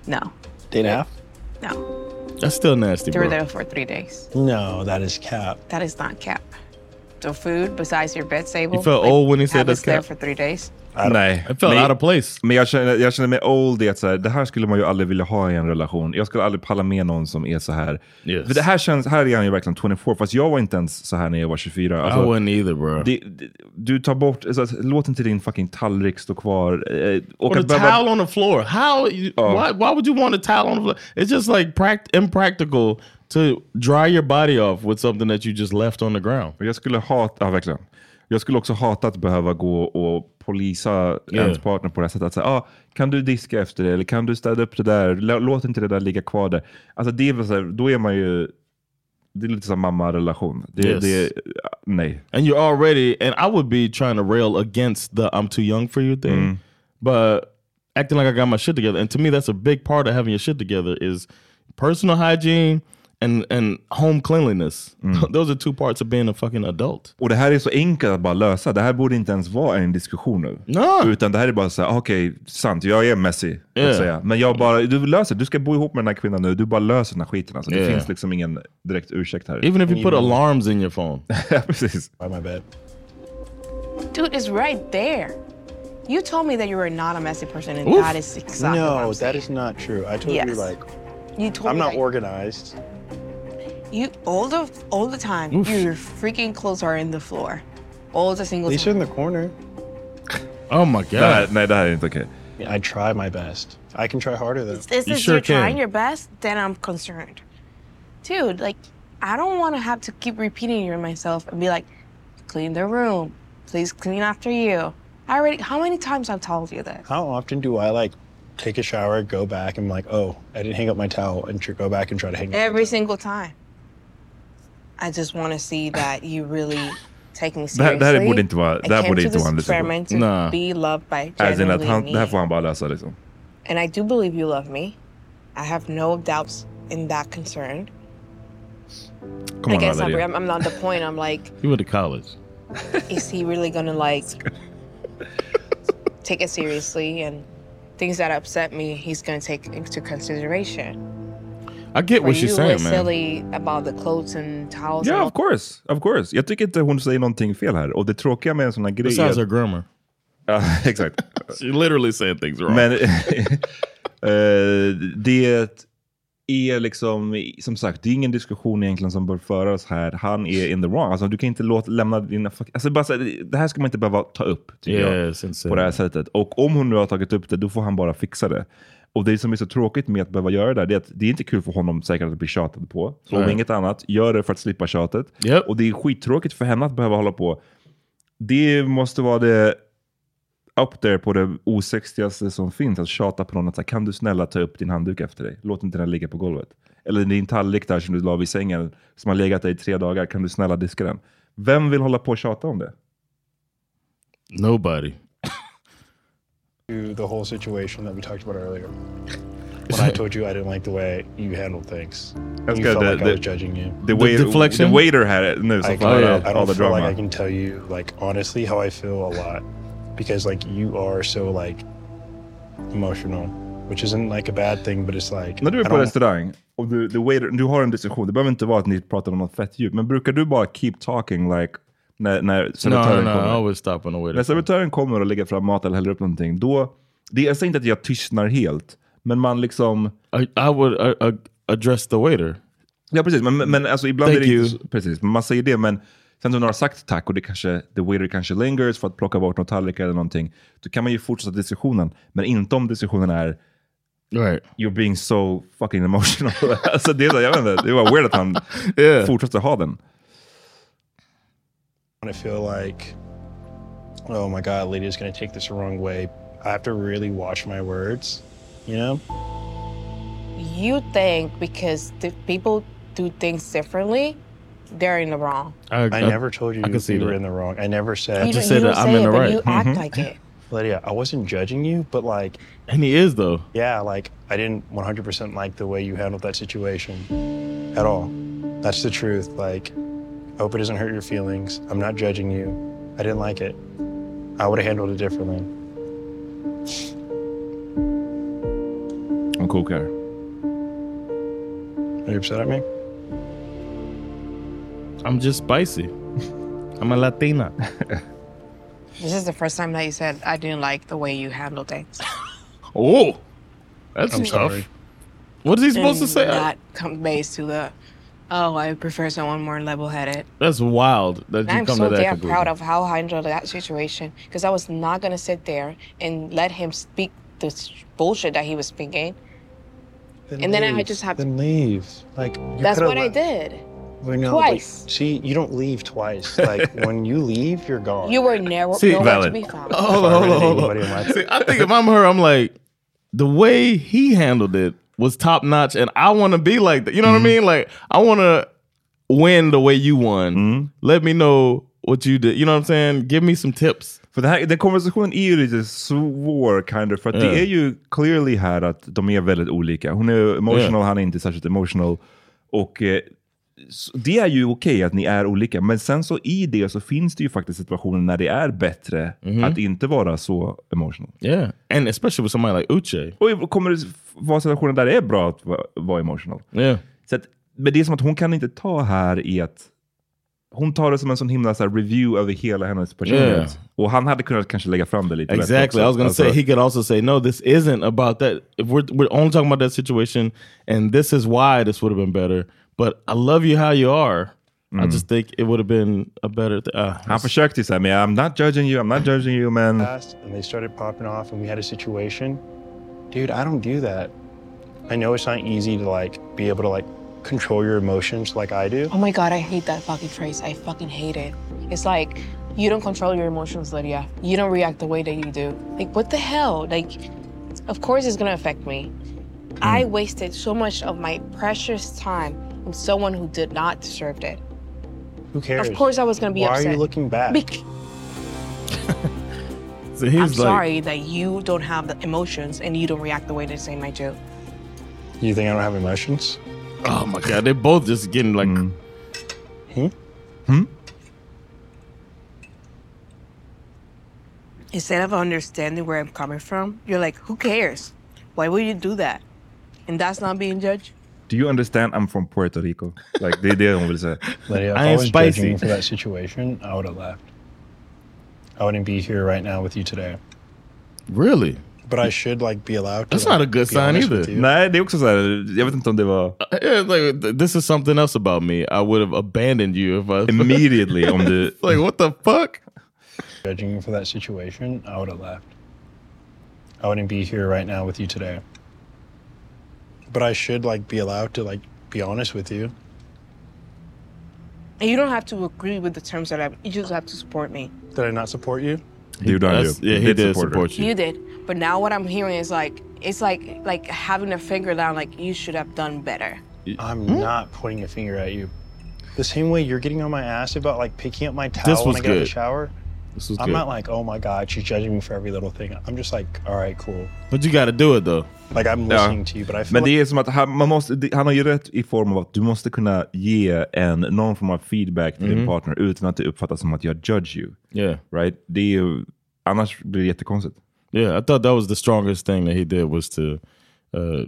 No. day and a half. No. That's still nasty, They were bro. there for three days. No, that is cap. That is not cap. So food besides your bed table. You felt old when he said have that's us there cap? for three days. Nej. It felt Men- out of place. Men jag känner, jag känner mig old i att så här, det här skulle man ju aldrig vilja ha i en relation. Jag skulle aldrig palla med någon som är så här. Yes. För det här känns, här är han ju verkligen 24, fast jag var inte ens så här när jag var 24. I Alltså, wouldn't either, bro. det, det, du tar bort, alltså, låt inte din fucking tallrik stå kvar. Eh, och Or att the behöva- towel on the floor. How? You, Oh. why, why would you want a towel on the floor? It's just like pract- impractical to dry your body off with something that you just left on the ground. Och Jag skulle hata, ja, verkligen. Jag skulle också hata att behöva gå och polisa ens partner på det här sättet. Att säga, ah, kan du diska efter det? Eller kan du städa upp det där? Lå- Låt inte det där ligga kvar där. Alltså det är väl så här, då är man ju, det är lite som mamma-relation. Det, Yes. det, nej. and you're already and I would be trying to rail against the I'm too young for you thing, but acting like I got my shit together. And to me, that's a big part of having your shit together is personal hygiene and and home cleanliness. [laughs] Those are two parts of being a fucking adult. Och det här är så enkelt att bara lösa. Det här borde inte ens vara en diskussion nu. No. Utan det här är bara så här, "Ah, okej, sant, jag är messy. så Yeah. att säga. Men jag bara, du löser Du ska bo ihop med den här kvinnan nu. Du bara löser den här skiten. Alltså. Det Yeah. finns liksom ingen direkt ursäkt här. Even if you put alarms in your phone, [laughs] ja, precis. By my bed. Dude, it's right there. You told me that you were not a messy person, and Oof. that is exactly what I'm no, that saying. is not true. I totally Yes. like. You told I'm me not that organized. You all the all the time. Your freaking clothes are in the floor, all the single At least time. in the corner. oh my Det här, god, nej, det här är inte okej. I try my best. I can try harder though. If this You is sure you're can. trying your best, then I'm concerned. Dude, like I don't want to have to keep repeating to myself and be like, clean the room, please clean after you. I already. How many times I've told you this? How often do I like take a shower, go back, and like, oh, I didn't hang up my towel, and tr- go back and try to hang up? Every single time. I just want to see that you really take me Det här- seriously. det här borde inte vara- I det här came borde to inte this vara en diskussion. experiment to Nah. be loved by As in att genuinely han, det här me. får han bara lösa liksom. And I do believe you love me. I have no doubts in that concern. Come I on, guess I'm, Valeria. I'm, I'm not the point. I'm [laughs] like, You went to college. is he really gonna like take it seriously and things that upset me he's gonna take into consideration I get For what she's you, saying, it's man. silly about the clothes and towels and Ja, all- of course. Of course. Jag tycker inte hon säger någonting fel här. Och det tråkiga med en sån här grej... Besides her grammar. Ja, [laughs] exakt. She literally said things wrong. Men [laughs] [laughs] eh, det är liksom, som sagt, det är ingen diskussion egentligen som bör föras här. Han är in the wrong. Alltså, du kan inte låta, lämna dina... fuck- Alltså, bara, så här, det här ska man inte behöva ta upp, tycker Yeah, jag. På det här sättet. Och om hon nu har tagit upp det, då får han bara fixa det. Och det som är så tråkigt med att behöva göra det där, det är att det är inte kul för honom säkert att bli tjatad på. Så om Nej. inget annat, gör det för att slippa tjatet. Och det är skittråkigt för henne att behöva hålla på. Det måste vara det up there på det osexigaste som finns. Att tjata på någon att säga, kan du snälla ta upp din handduk efter dig? Låt inte den ligga på golvet. Eller din tallrik där som du la vid sängen, som har legat där i tre dagar, kan du snälla diska den? Vem vill hålla på och tjata om det? Nobody. to the whole situation that we talked about [laughs] earlier. When I told you I didn't like the way you handled things, Jag you felt älskar det- like I det- was judging you. the The wait- deflection? the waiter had it. No, so I, far I, out, I all don't the feel like drama. I can tell you, like honestly, how I feel a lot, because like you are so like emotional, which isn't like a bad thing, but it's like När du är I på don't- restaurang och du, the waiter, du har en diskussion, det behöver inte vara att ni pratar om något fett djupt, men brukar du bara keep talking like när, när servitören no, I kommer? always stop on the way to- När servitören kommer och lägger fram mat eller häller upp någonting, då... Det är alltså inte att jag tystnar helt, men man liksom... I, I would I, I address the waiter. Ja, precis. Men, men alltså, ibland Thank är det you. inte, precis, men man säger det, men sen när någon har sagt tack och det kanske, the waiter kanske lingers för att plocka bort någon tallrik eller någonting, då kan man ju fortsätta diskussionen, men inte om diskussionen är You're being so fucking emotional. [laughs] alltså det är så, jag vet inte, det var weird att han fortsätter ha den. when I feel like, oh my God, Lydia's going to take this the wrong way. I have to really watch my words, you know? you think because the people do things differently they're in the wrong I, I- never told you I can see you were that. in the wrong. I never said. Mm-hmm. You don't- you don't say it, but you act Mm-hmm. like it Lydia, I wasn't judging you, but like, And he is though. yeah, like I didn't 100% like the way you handled that situation at all. That's the truth. Like, I hope it doesn't hurt your feelings. I'm not judging you. I didn't like it. I would have handled it differently. Hon kokar. Are you upset at me? I'm just [laughs] spicy. I'm a Latina. this is the first time that you said i didn't like the way you handle things oh, that's I'm tough. sorry. What is he supposed to And say? that conveys to the oh i prefer someone more level-headed That's wild that you I'm come so to that damn conclusion. proud [laughs] of how I handled that situation because I was not gonna sit there and let him speak this bullshit that he was speaking. And then I just have- Then leave. Like, you That's coulda what I left. did. Well, no, but Twice. see, you don't leave twice. Like when you leave, you're gone. You were never See, nowhere to be found. Oh, hold on, hold on, hold on. See, I think if I'm her, I'm like, the way he handled it was top notch, and I want to be like that. You know what I mean? Like, I want to win the way you won. Let me know what you did. You know what I'm saying? Give me some tips. För det här, den konversationen är ju lite svår, kind of, för att Yeah. det är ju clearly här att de är väldigt olika. Hon är emotional, Yeah. han är inte särskilt emotional. Och eh, s- det är ju okej att ni är olika, men sen så i det så finns det ju faktiskt situationer när det är bättre att inte vara så emotional. Yeah, Mhm. and especially with somebody like Uche. Och kommer det f- vara situationer där det är bra att va- vara emotional? Yeah. Så att, men det är som att hon kan inte ta här i att hon tar det som en sån himla så här, review över hela hennes personlighet. Yeah. Och han hade kunnat kanske lägga fram det lite bättre Exactly. I också. was gonna say Alltså- he could also say, no, this isn't about that. If we're we're only talking about that situation, and this is why this would have been better. But I love you how you are. I Mm. just think it would have been a better. Th- uh, Han försökte ju säga, men I'm not judging you, I'm not judging you, men... Fast, and they started popping off, and we had a situation. Dude, I don't do that. I know it's not easy to like be able to like control your emotions like I do. Oh my god, I hate that fucking phrase. I fucking hate it. It's like you don't control your emotions, Lydia. You don't react the way that you do. Like what the hell? Like of course it's gonna affect me. Hmm. I wasted so much of my precious time on someone who did not deserve it. Who cares? Of course I was gonna be Why [laughs] upset. are you looking back? Bec- So he's I'm like- sorry that you don't have the emotions and you don't react the way they say my do. You think I don't have emotions? Oh my god, they're both just getting like. Mm. Hmm? Instead of understanding where I'm coming from, you're like, who cares? Why would you do that? And that's not being judged. Do you understand I'm from Puerto Rico? Like det är det hon [laughs] vill säga. Lydia, if I, was judging you for that situation, I would have left. I wouldn't be here right now with you today. Really? But I should like be allowed to. That's not a good sign either. Uh, Nej, det är också så här, jag vet inte om det var... Yeah, it's like th- this is something else about me. I would have abandoned you if I Immediately on the- It's like what the fuck? Judging you for that situation, I would have left. I wouldn't be here right now with you today. But I should like be allowed to like be honest with you. And you don't have to agree with the terms that I'm, you just have to support me. Did I not support you? Dude, I That's- do. yeah, he Did did support her. support you. You did. But now what I'm hearing is like, it's like like having a finger down, like you should have done better. I'm hmm? not pointing a finger at you. The same way you're getting on my ass about like picking up my towel when was I get out of the good. shower. [laughs] This was I'm good. not like, oh my god, she's judging me for every little thing. I'm just like, all right, cool. But you gotta do it though. Like I'm Ja. listening to you, but I feel Men like det är som att han, man måste, det- han har ju rätt i form av att du måste kunna ge en, någon form av feedback till din Mhm. partner utan att det uppfattas som att jag judge you. Yeah. Right? Det är ju, annars blir det jättekonstigt. Yeah, I thought that was the strongest thing that he did was to uh,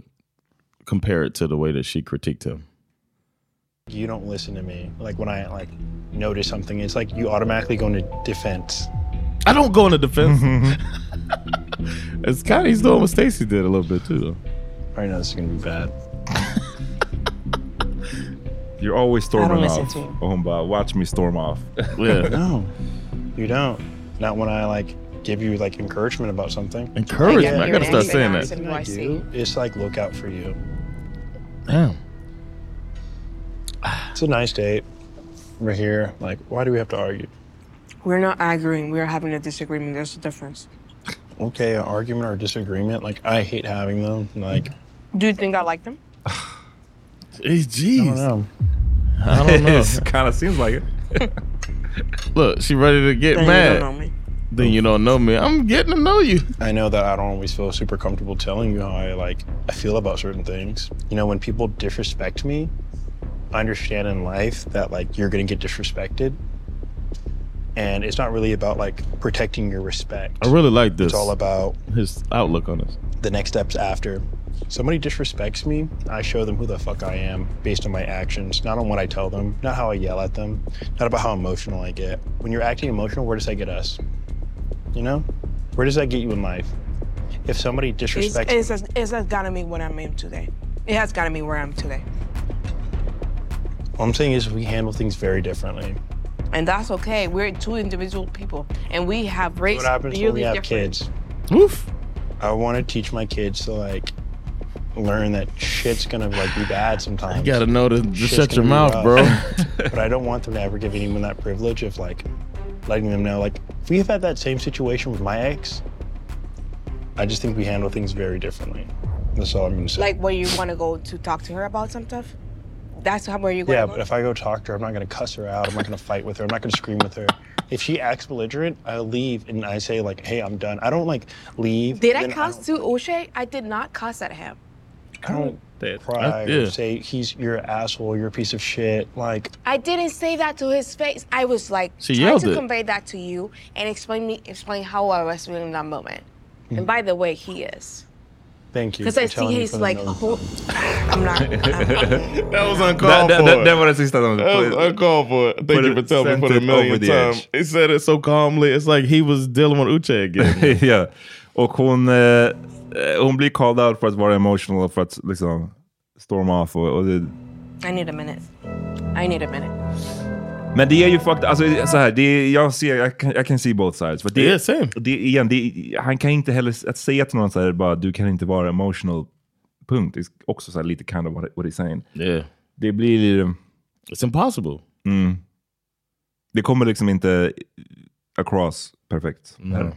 compare it to the way that she critiqued him. you don't listen to me. Like when I like notice something, it's like you automatically go into defense. I don't go into defense. [laughs] it's kind of he's doing what Stacy did a little bit too though. I know this is gonna be [laughs] bad. You're always I don't storming listen off. to you. Och hon bara, watch me storm [laughs] off. No, you don't. Not when I like give you like encouragement about something. Encouragement? I gotta start saying that. Everything I do is like look out for you. Damn. It's a nice date. We're here. Like, why do we have to argue? We're not arguing, we're having a disagreement. There's a difference. Okay, an argument or a disagreement. Like, I hate having them. Like, Do you think I like them? Jeez. I don't know. I don't [laughs] [laughs] know. It kind of seems like it. Look, she ready to get Then you mad. don't know me. Then you don't know me. I'm getting to know you. I know that I don't always feel super comfortable telling you how I like I feel about certain things. You know, when people disrespect me, I understand in life that like you're gonna get disrespected. And it's not really about like protecting your respect. I really like It's this. all about his outlook on this. the next steps after. Somebody disrespects me, I show them who the fuck I am based on my actions, not on what I tell them, not how I yell at them, not about how emotional I get. When you're acting emotional, where does that get us? You know? Where does that get you in life? If somebody It's, disrespects it's, it's, has gotten me where I'm today. It has gotten me where I'm today. all I'm saying is we handle things very differently. And that's okay. We're two individual people and we have what rates happens when we really have different. kids? Oof. I want to teach my kids to like learn that shit's gonna like be bad sometimes. You gotta know to just Shit's shut your gonna be [laughs] mouth, rough. [laughs] but I don't want them to ever give anyone that privilege of like letting them know like we've had that same situation with my ex. I just think we handle things very differently. That's all I'm gonna say. Like where you want to go to talk to her about some stuff? That's how where you go. yeah, but if I go talk to her, I'm not gonna cuss her out. I'm not gonna fight with her. I'm not gonna scream with her. If she acts belligerent, I leave and I say like, "Hey, I'm done." I don't like leave. Did and I then cuss to O'Shea? I did not cuss at him. I don't cry I- yeah. or say he's you're an asshole, you're a piece of shit. Like I didn't say that to his face. I was like She trying yelled to it. convey that to you and explain me explain how I was feeling in that moment. And by the way, he is. thank you. Because I for telling see me he's for the like, note. whole, I'm not. [laughs] [laughs] that was That, uncalled that, for. that, that var [laughs] det sista de... That was uncalled for. Thank Put you it- for telling me sent for the it over millionth the time. edge. He said it so calmly. It's like he was dealing with Uche again. [laughs] ja. Och hon, eh, eh, hon blir called out för att vara emotional och för att liksom storm off. Och, och det, I need a minute. I need a minute. [clears throat] men det är ju faktiskt, alltså så här, det är, jag ser, jag kan, jag kan see both sides. För det, Yeah, same. det är igen, det, är- han kan inte heller, s- att säga till någon så här bara du kan inte vara emotional, punkt. Det är också så här lite kind of what, what he's saying. Yeah. Det blir... It's impossible. Mm, det kommer liksom inte across perfekt. Nej. Här.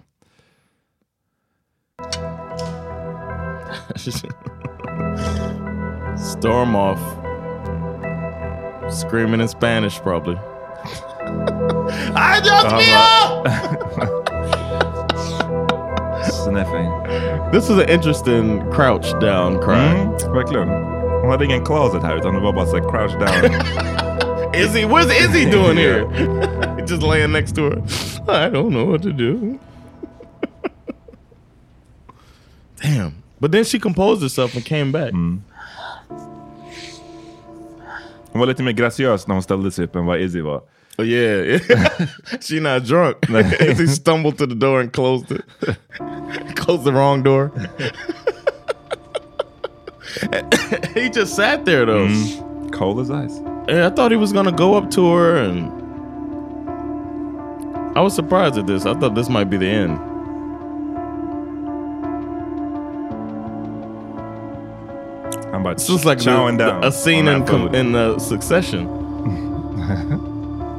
Storm off. Screaming in Spanish, probably. I just Uh-huh. feel. sniffing. This is an interesting crouch down cry. Mm-hmm. verkligen. Hon hade ingen closet här utan det var bara så här crouch [laughs] down. Izzy, where's Izzy doing [laughs] here? Just laying next to her. I don't know what to do. [laughs] Damn. But then she composed herself and came back. Hon var lite mer graciös när hon ställde sig upp än vad Izzy var. Oh yeah. [laughs] she not [laughs] drunk. [laughs] Izzy stumbled to the door and closed it. [laughs] closed the wrong door. [laughs] he just sat there though. Mm-hmm. Cold as ice. Yeah, I thought he was gonna go up to her and I was surprised at this. I thought this might be the end. I'm about It's just like the, chowing down a scene on in, that com- food. in [laughs] uh, Succession.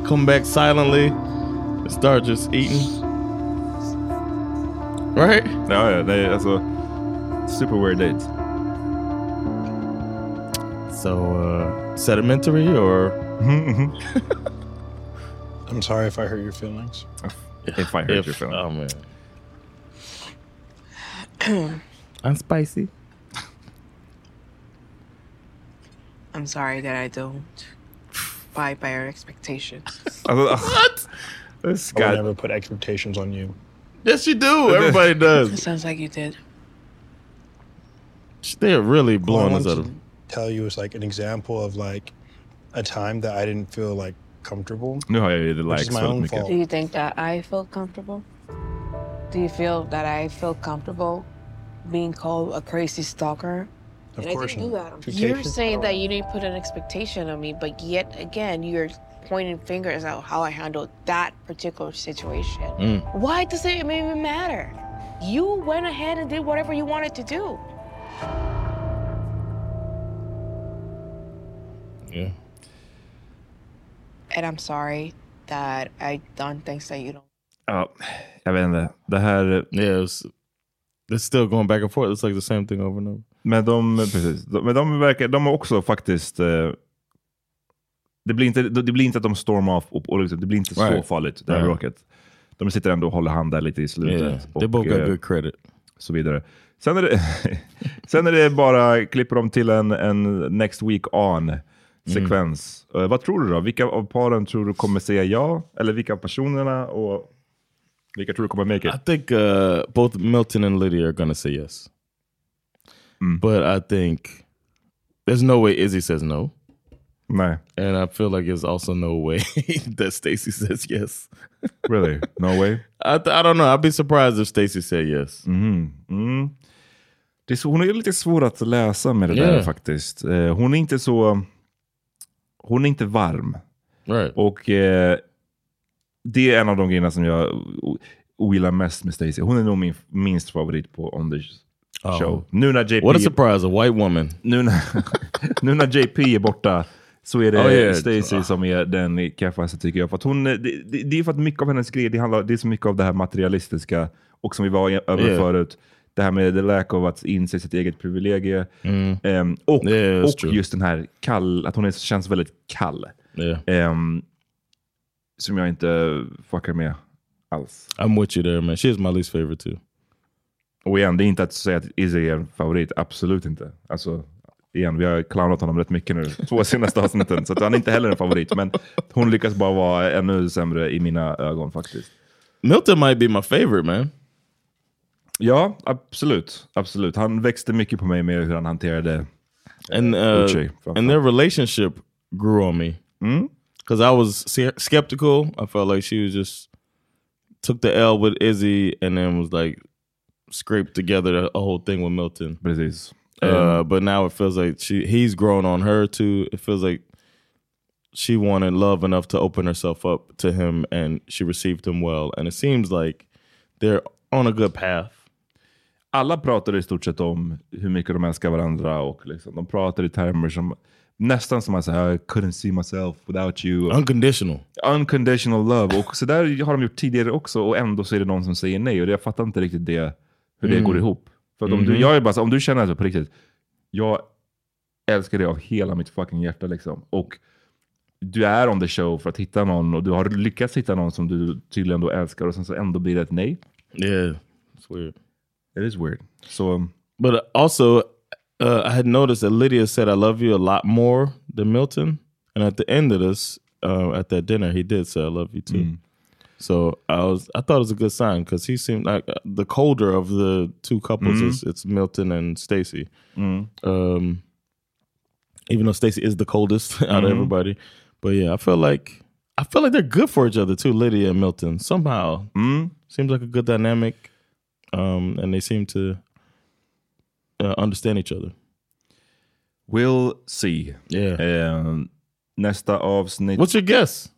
Come back silently, and start just eating. Right? Ja, ja, det är alltså super weird dates. So uh, sedimentary or Mm-hmm, [laughs] I'm sorry if I hurt your feelings. If I hurt your feelings. Oh man. I'm spicy. I'm sorry that I don't abide by your expectations. what? I would never put expectations on you. Yes, you do. Everybody It does. sounds like you did. They're really All I blowing us wanted out to of. tell you is like an example of like a time that I didn't feel like comfortable. Nu har jag ju the Which likes is my väldigt own mycket. Do you think that I feel comfortable? Do you feel that I feel comfortable being called a crazy stalker? Of and course I didn't do not. that. Two You're cases. saying that you didn't put an expectation on me, but yet again, you're pointing fingers at how I handled that particular situation. Mm. Why does it even matter? You went ahead and did whatever you wanted to do. Yeah. And I'm sorry that I done things that you don't. Ja, jag vet inte. Det här... eh, Yeah, it's, it's still going back and forth. It's like the same thing over and over. Men de, precis, de, men de verkar, de har också faktiskt... eh, det, blir inte, det blir inte att de stormar av och, och liksom, det blir inte så Right. farligt, det här Right. bråket. De sitter ändå och håller hand där lite i slutet. Yeah, Och, they both got eh, good credit. så vidare. Sen är det, [laughs] sen är det bara, klipper de till en, en next week on-sekvens. Mm. Eh, vad tror du då? Vilka av paren tror du kommer säga ja? Eller vilka av personerna? Och vilka tror du kommer make it? I think uh, both Milton and Lydia are going to say yes. Mm. But I think there's no way Izzy says no. No. And I feel like there's also no way [laughs] that Stacy says yes. [laughs] really? No way? I, th- I don't know. I'd be surprised if Stacy said yes. Mm. Mm. Det är så, hon är lite svår att läsa med det där Yeah. faktiskt. Eh, hon är inte så... Hon är inte varm. Och eh, det är en av de grejerna som jag o- ogillar mest med Stacey. Hon är nog min minst favorit på On the Oh. Show. Nu när JP... What a surprise, a white woman. Nu när, [laughs] nu när JP är borta så är det Oh, yeah. Stacey som är den kaffaste tycker jag. För att hon, eh, det, det, det är för att mycket av hennes grejer, det, handlar, det är så mycket av det här materialistiska och som vi var i- över Yeah. förut. Det här med the lack of att inse sitt eget privilegie. Mm. Ehm, och Yeah, that's och true. just den här kall, att hon är, känns väldigt kall. Yeah. Ehm, som jag inte fuckar med alls. I'm with you there, man. She is my least favorite too. Och igen, det är inte att säga att Izzy är en favorit. Absolut inte. Alltså, igen, vi har clownat honom rätt mycket [laughs] nu. Två senaste avsnitten. så att han är inte heller en favorit. Men hon lyckas bara vara ännu sämre i mina ögon faktiskt. Milton might be my favorite man. Ja, absolut. Absolut. Han växte mycket på mig med hur han hanterade And uh, Uche, framför and their relationship grew on me Hmm? because I was se- skeptical. I felt like she was just took the L with Izzy and then was like scraped together a whole thing with Milton. But it is. Uh, but now it feels like she he's grown on her too. It feels like she wanted love enough to open herself up to him, and she received him well. And it seems like they're on a good path. alla pratar i stort sett om hur mycket de älskar varandra. Och liksom, de pratar i termer som nästan som att säga I couldn't see myself without you. Unconditional. Unconditional love. Och så där har de gjort tidigare också och ändå så är det någon som säger nej. Och jag fattar inte riktigt det, hur det Mm. går ihop. För att om, du, Mhm. jag är bara, så- om du känner så på riktigt, jag älskar dig av hela mitt fucking hjärta. Liksom. Och du är on the show för att hitta någon och du har lyckats hitta någon som du tydligen då älskar och sen så ändå blir det ett nej. Yeah, it's weird. It is weird. So, um, But also, uh, I had noticed that Lydia said "I love you" a lot more than Milton, and at the end of this, uh, at that dinner, he did say "I love you" too. Mm. So I was, I thought it was a good sign because he seemed like uh, the colder of the two couples. Mhm. Is it's Milton and Stacy. Mhm. Um, even though Stacy is the coldest [laughs] out Mhm. of everybody, but yeah, I feel like I feel like they're good for each other too. Lydia and Milton somehow Mm-hmm. seems like a good dynamic, um, and they seem to uh, understand each other. We'll see. Um, nästa avsnitt. What's your guess?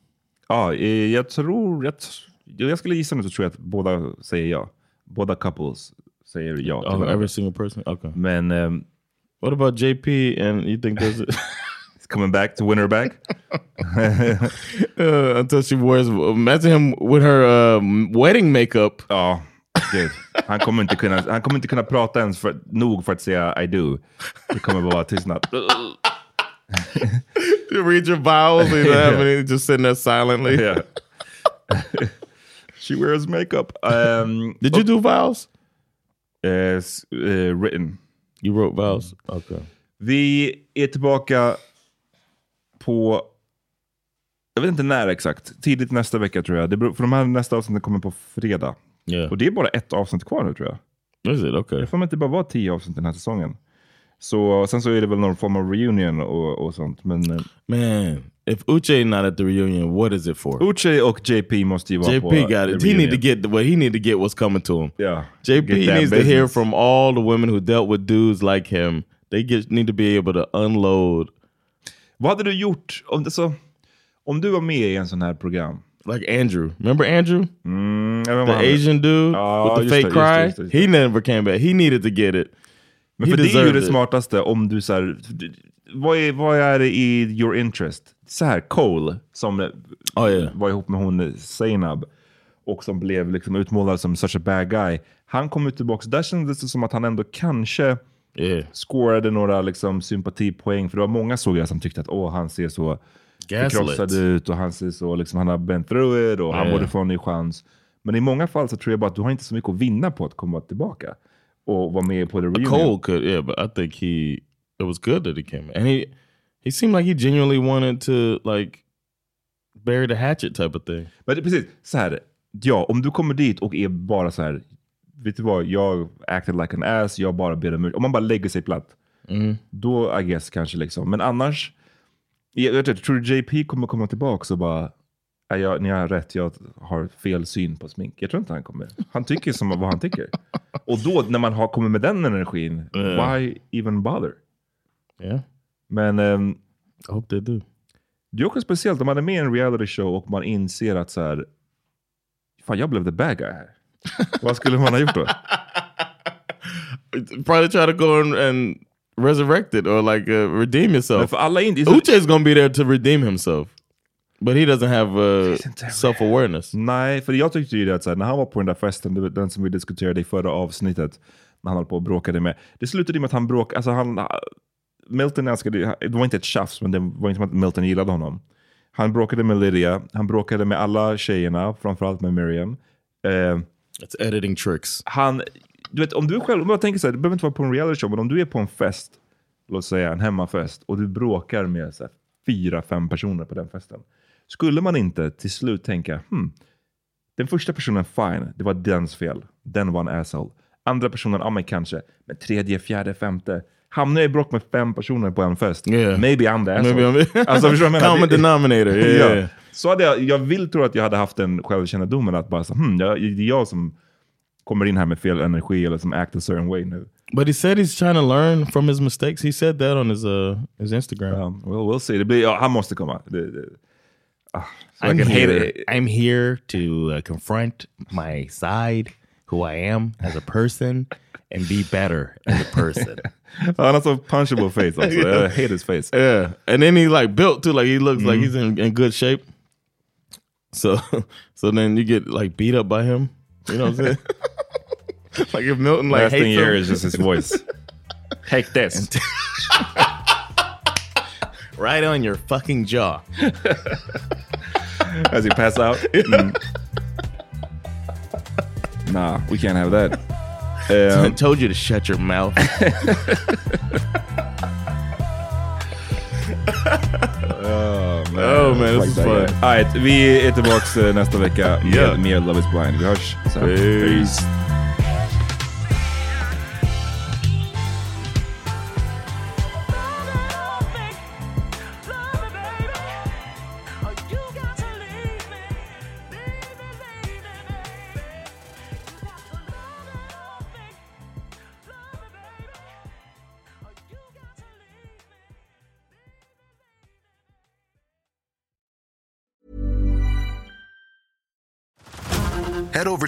Ja, eh, jag tror... Jag, tr- jo, jag skulle gissa nu så tror jag att båda säger ja. Båda couples säger ja. till Oh, varandra. every single person. Okay. Men... Um, what about JP and you think [laughs] there's... It's coming back to win her back? [laughs] Uh, until she wears... Imagine him with her um, wedding makeup. [laughs] Ja, [laughs] gud. Han kommer inte kunna, han kommer inte kunna prata ens för, nog för att säga I do. Det kommer bara vara tystnad. you read your vowels and [laughs] you don't have any, just sitting there [laughs] silently. Yeah. She wears makeup. Um, Did you do vowels? Eh, Yes, uh, written. You wrote vowels? Okay. Vi är tillbaka på... Jag vet inte när exakt. Tidigt nästa vecka tror jag. Det beror, för de här nästa avsnitten kommer på fredag. Och det är bara ett avsnitt kvar nu tror jag. Is it? Okay. Jag får mig att det bara var tio avsnitt den här säsongen. Så, sen så är det väl någon form av reunion och, och sånt. Men, eh, Man, if Uche not at the reunion, what is it for? Uche och JP måste ju vara på... JP got it. He need to get what he need to get what's coming to him. Yeah. JP Get that needs to hear business. from all the women who dealt with dudes like him. They get, need to be able to unload. Vad hade du gjort om, det så, om du var med i en sån här program? Like Andrew. Remember Andrew? Mm, jag The remember han. Asian dude Ja, with the just fake det, just cry. det, just det, just He never came back. He needed to get it. Men He för det är ju deserved det it. smartaste om du så här, vad, är, vad är det i your interest? Så här, Cole som Ah, var ihop med hon eh, Zainab och som blev liksom utmålad som such a bad guy. Han kom ut tillbaka, där kändes det som att han ändå kanske scorade några liksom sympatipoäng. För det var många såg jag som tyckte att åh, han ser så Gaslit. förkrossad ut och han ser så, liksom, han har been through it och han Ja. borde få en ny chans. Men i många fall så tror jag bara att du har inte så mycket att vinna på att komma tillbaka och vara med på the reunion. Cole could, yeah, but I think he it was good that he came, and he he seemed like he genuinely wanted to like bury the hatchet type of thing. Men det, precis, så här. Ja, om du kommer dit och är bara så här. Vet du vad, jag acted like an ass, jag bara ber om ursäkt. Om man bara lägger sig platt. Mm. Då, I guess, kanske liksom. Men annars. Jag, vet inte, tror du JP kommer komma tillbaka och bara. "Ja, Jag, ni har rätt, jag har fel syn på smink. Jag tror inte han kommer. Han tycker som vad han tycker. Och då, när man har kommit med den energin. Ja. Why even bother? Yeah. Men... Um, I hope they do. Det är också speciellt om man är med i en reality show och man inser att så här, fan jag blev the bad guy [laughs] här. Vad skulle man ha gjort då? Probably try to go and, and resurrect it or like uh, redeem Men yourself. för alla in, Uche's gonna be there to redeem himself, but he doesn't have uh, self awareness. Nej, för jag tyckte ju det att så här, när han var på den där festen, det var den som vi diskuterade i förra avsnittet, när han höll på och bråkade med. Det slutade ju med att han bråkade, alltså han, Milton älskade ju- det var inte ett tjafs, men det var inte som att Milton gillade honom. Han bråkade med Lydia, han bråkade med alla tjejerna, framförallt med Miriam. Eh, It's editing tricks. Han, du vet, om du själv, om jag tänker så här, det behöver inte vara på en reality show, men om du är på en fest, låt säga en hemmafest, och du bråkar med så här, fyra, fem personer på den festen. Skulle man inte till slut tänka, hmm, den första personen, fine, det var dens fel. Den var en asshole. Andra personen, ja men kanske. Men tredje, fjärde, femte. Hamnar jag i bråk med fem personer på en fest, maybe I'm the asshole. Maybe I'm- alltså, förstår du vad jag menar? Common denominator, yeah, Ja. yeah. Så hade jag, jag vill tro att jag hade haft den självkännedomen att bara, så, hmm, jag, det är jag som kommer in här med fel energi eller som act a certain way nu. But he said he's trying to learn from his mistakes. He said that on his uh his Instagram. Um, well, we'll see. uh, Det blir, ja, han måste komma. Det, det, ah, så jag I'm kan hate here. it. I'm here to uh, confront my side, who I am as a person, and be better as a [laughs] person. Han har så Oh, punchable face [laughs] also. I hate his face. Mm-hmm. Yeah, and then he like built too. Like he looks like he's in, in good shape. So, [laughs] so then you get like beat up by him. You know what [laughs] I'm saying? like if Milton like Last hates thing here him- is just his [laughs] voice. Take this. right on your fucking jaw. [laughs] As he [laughs] pass out. Mm. Nah, we can't have that. I [laughs] told you to shut your mouth. [laughs] [laughs] Oh man, Oh, man, this is Fuck that fun. guy. Alright, vi är tillbaks eh, nästa vecka med Yeah. mer Love is blind. Vi hörs sen. Peace. Head over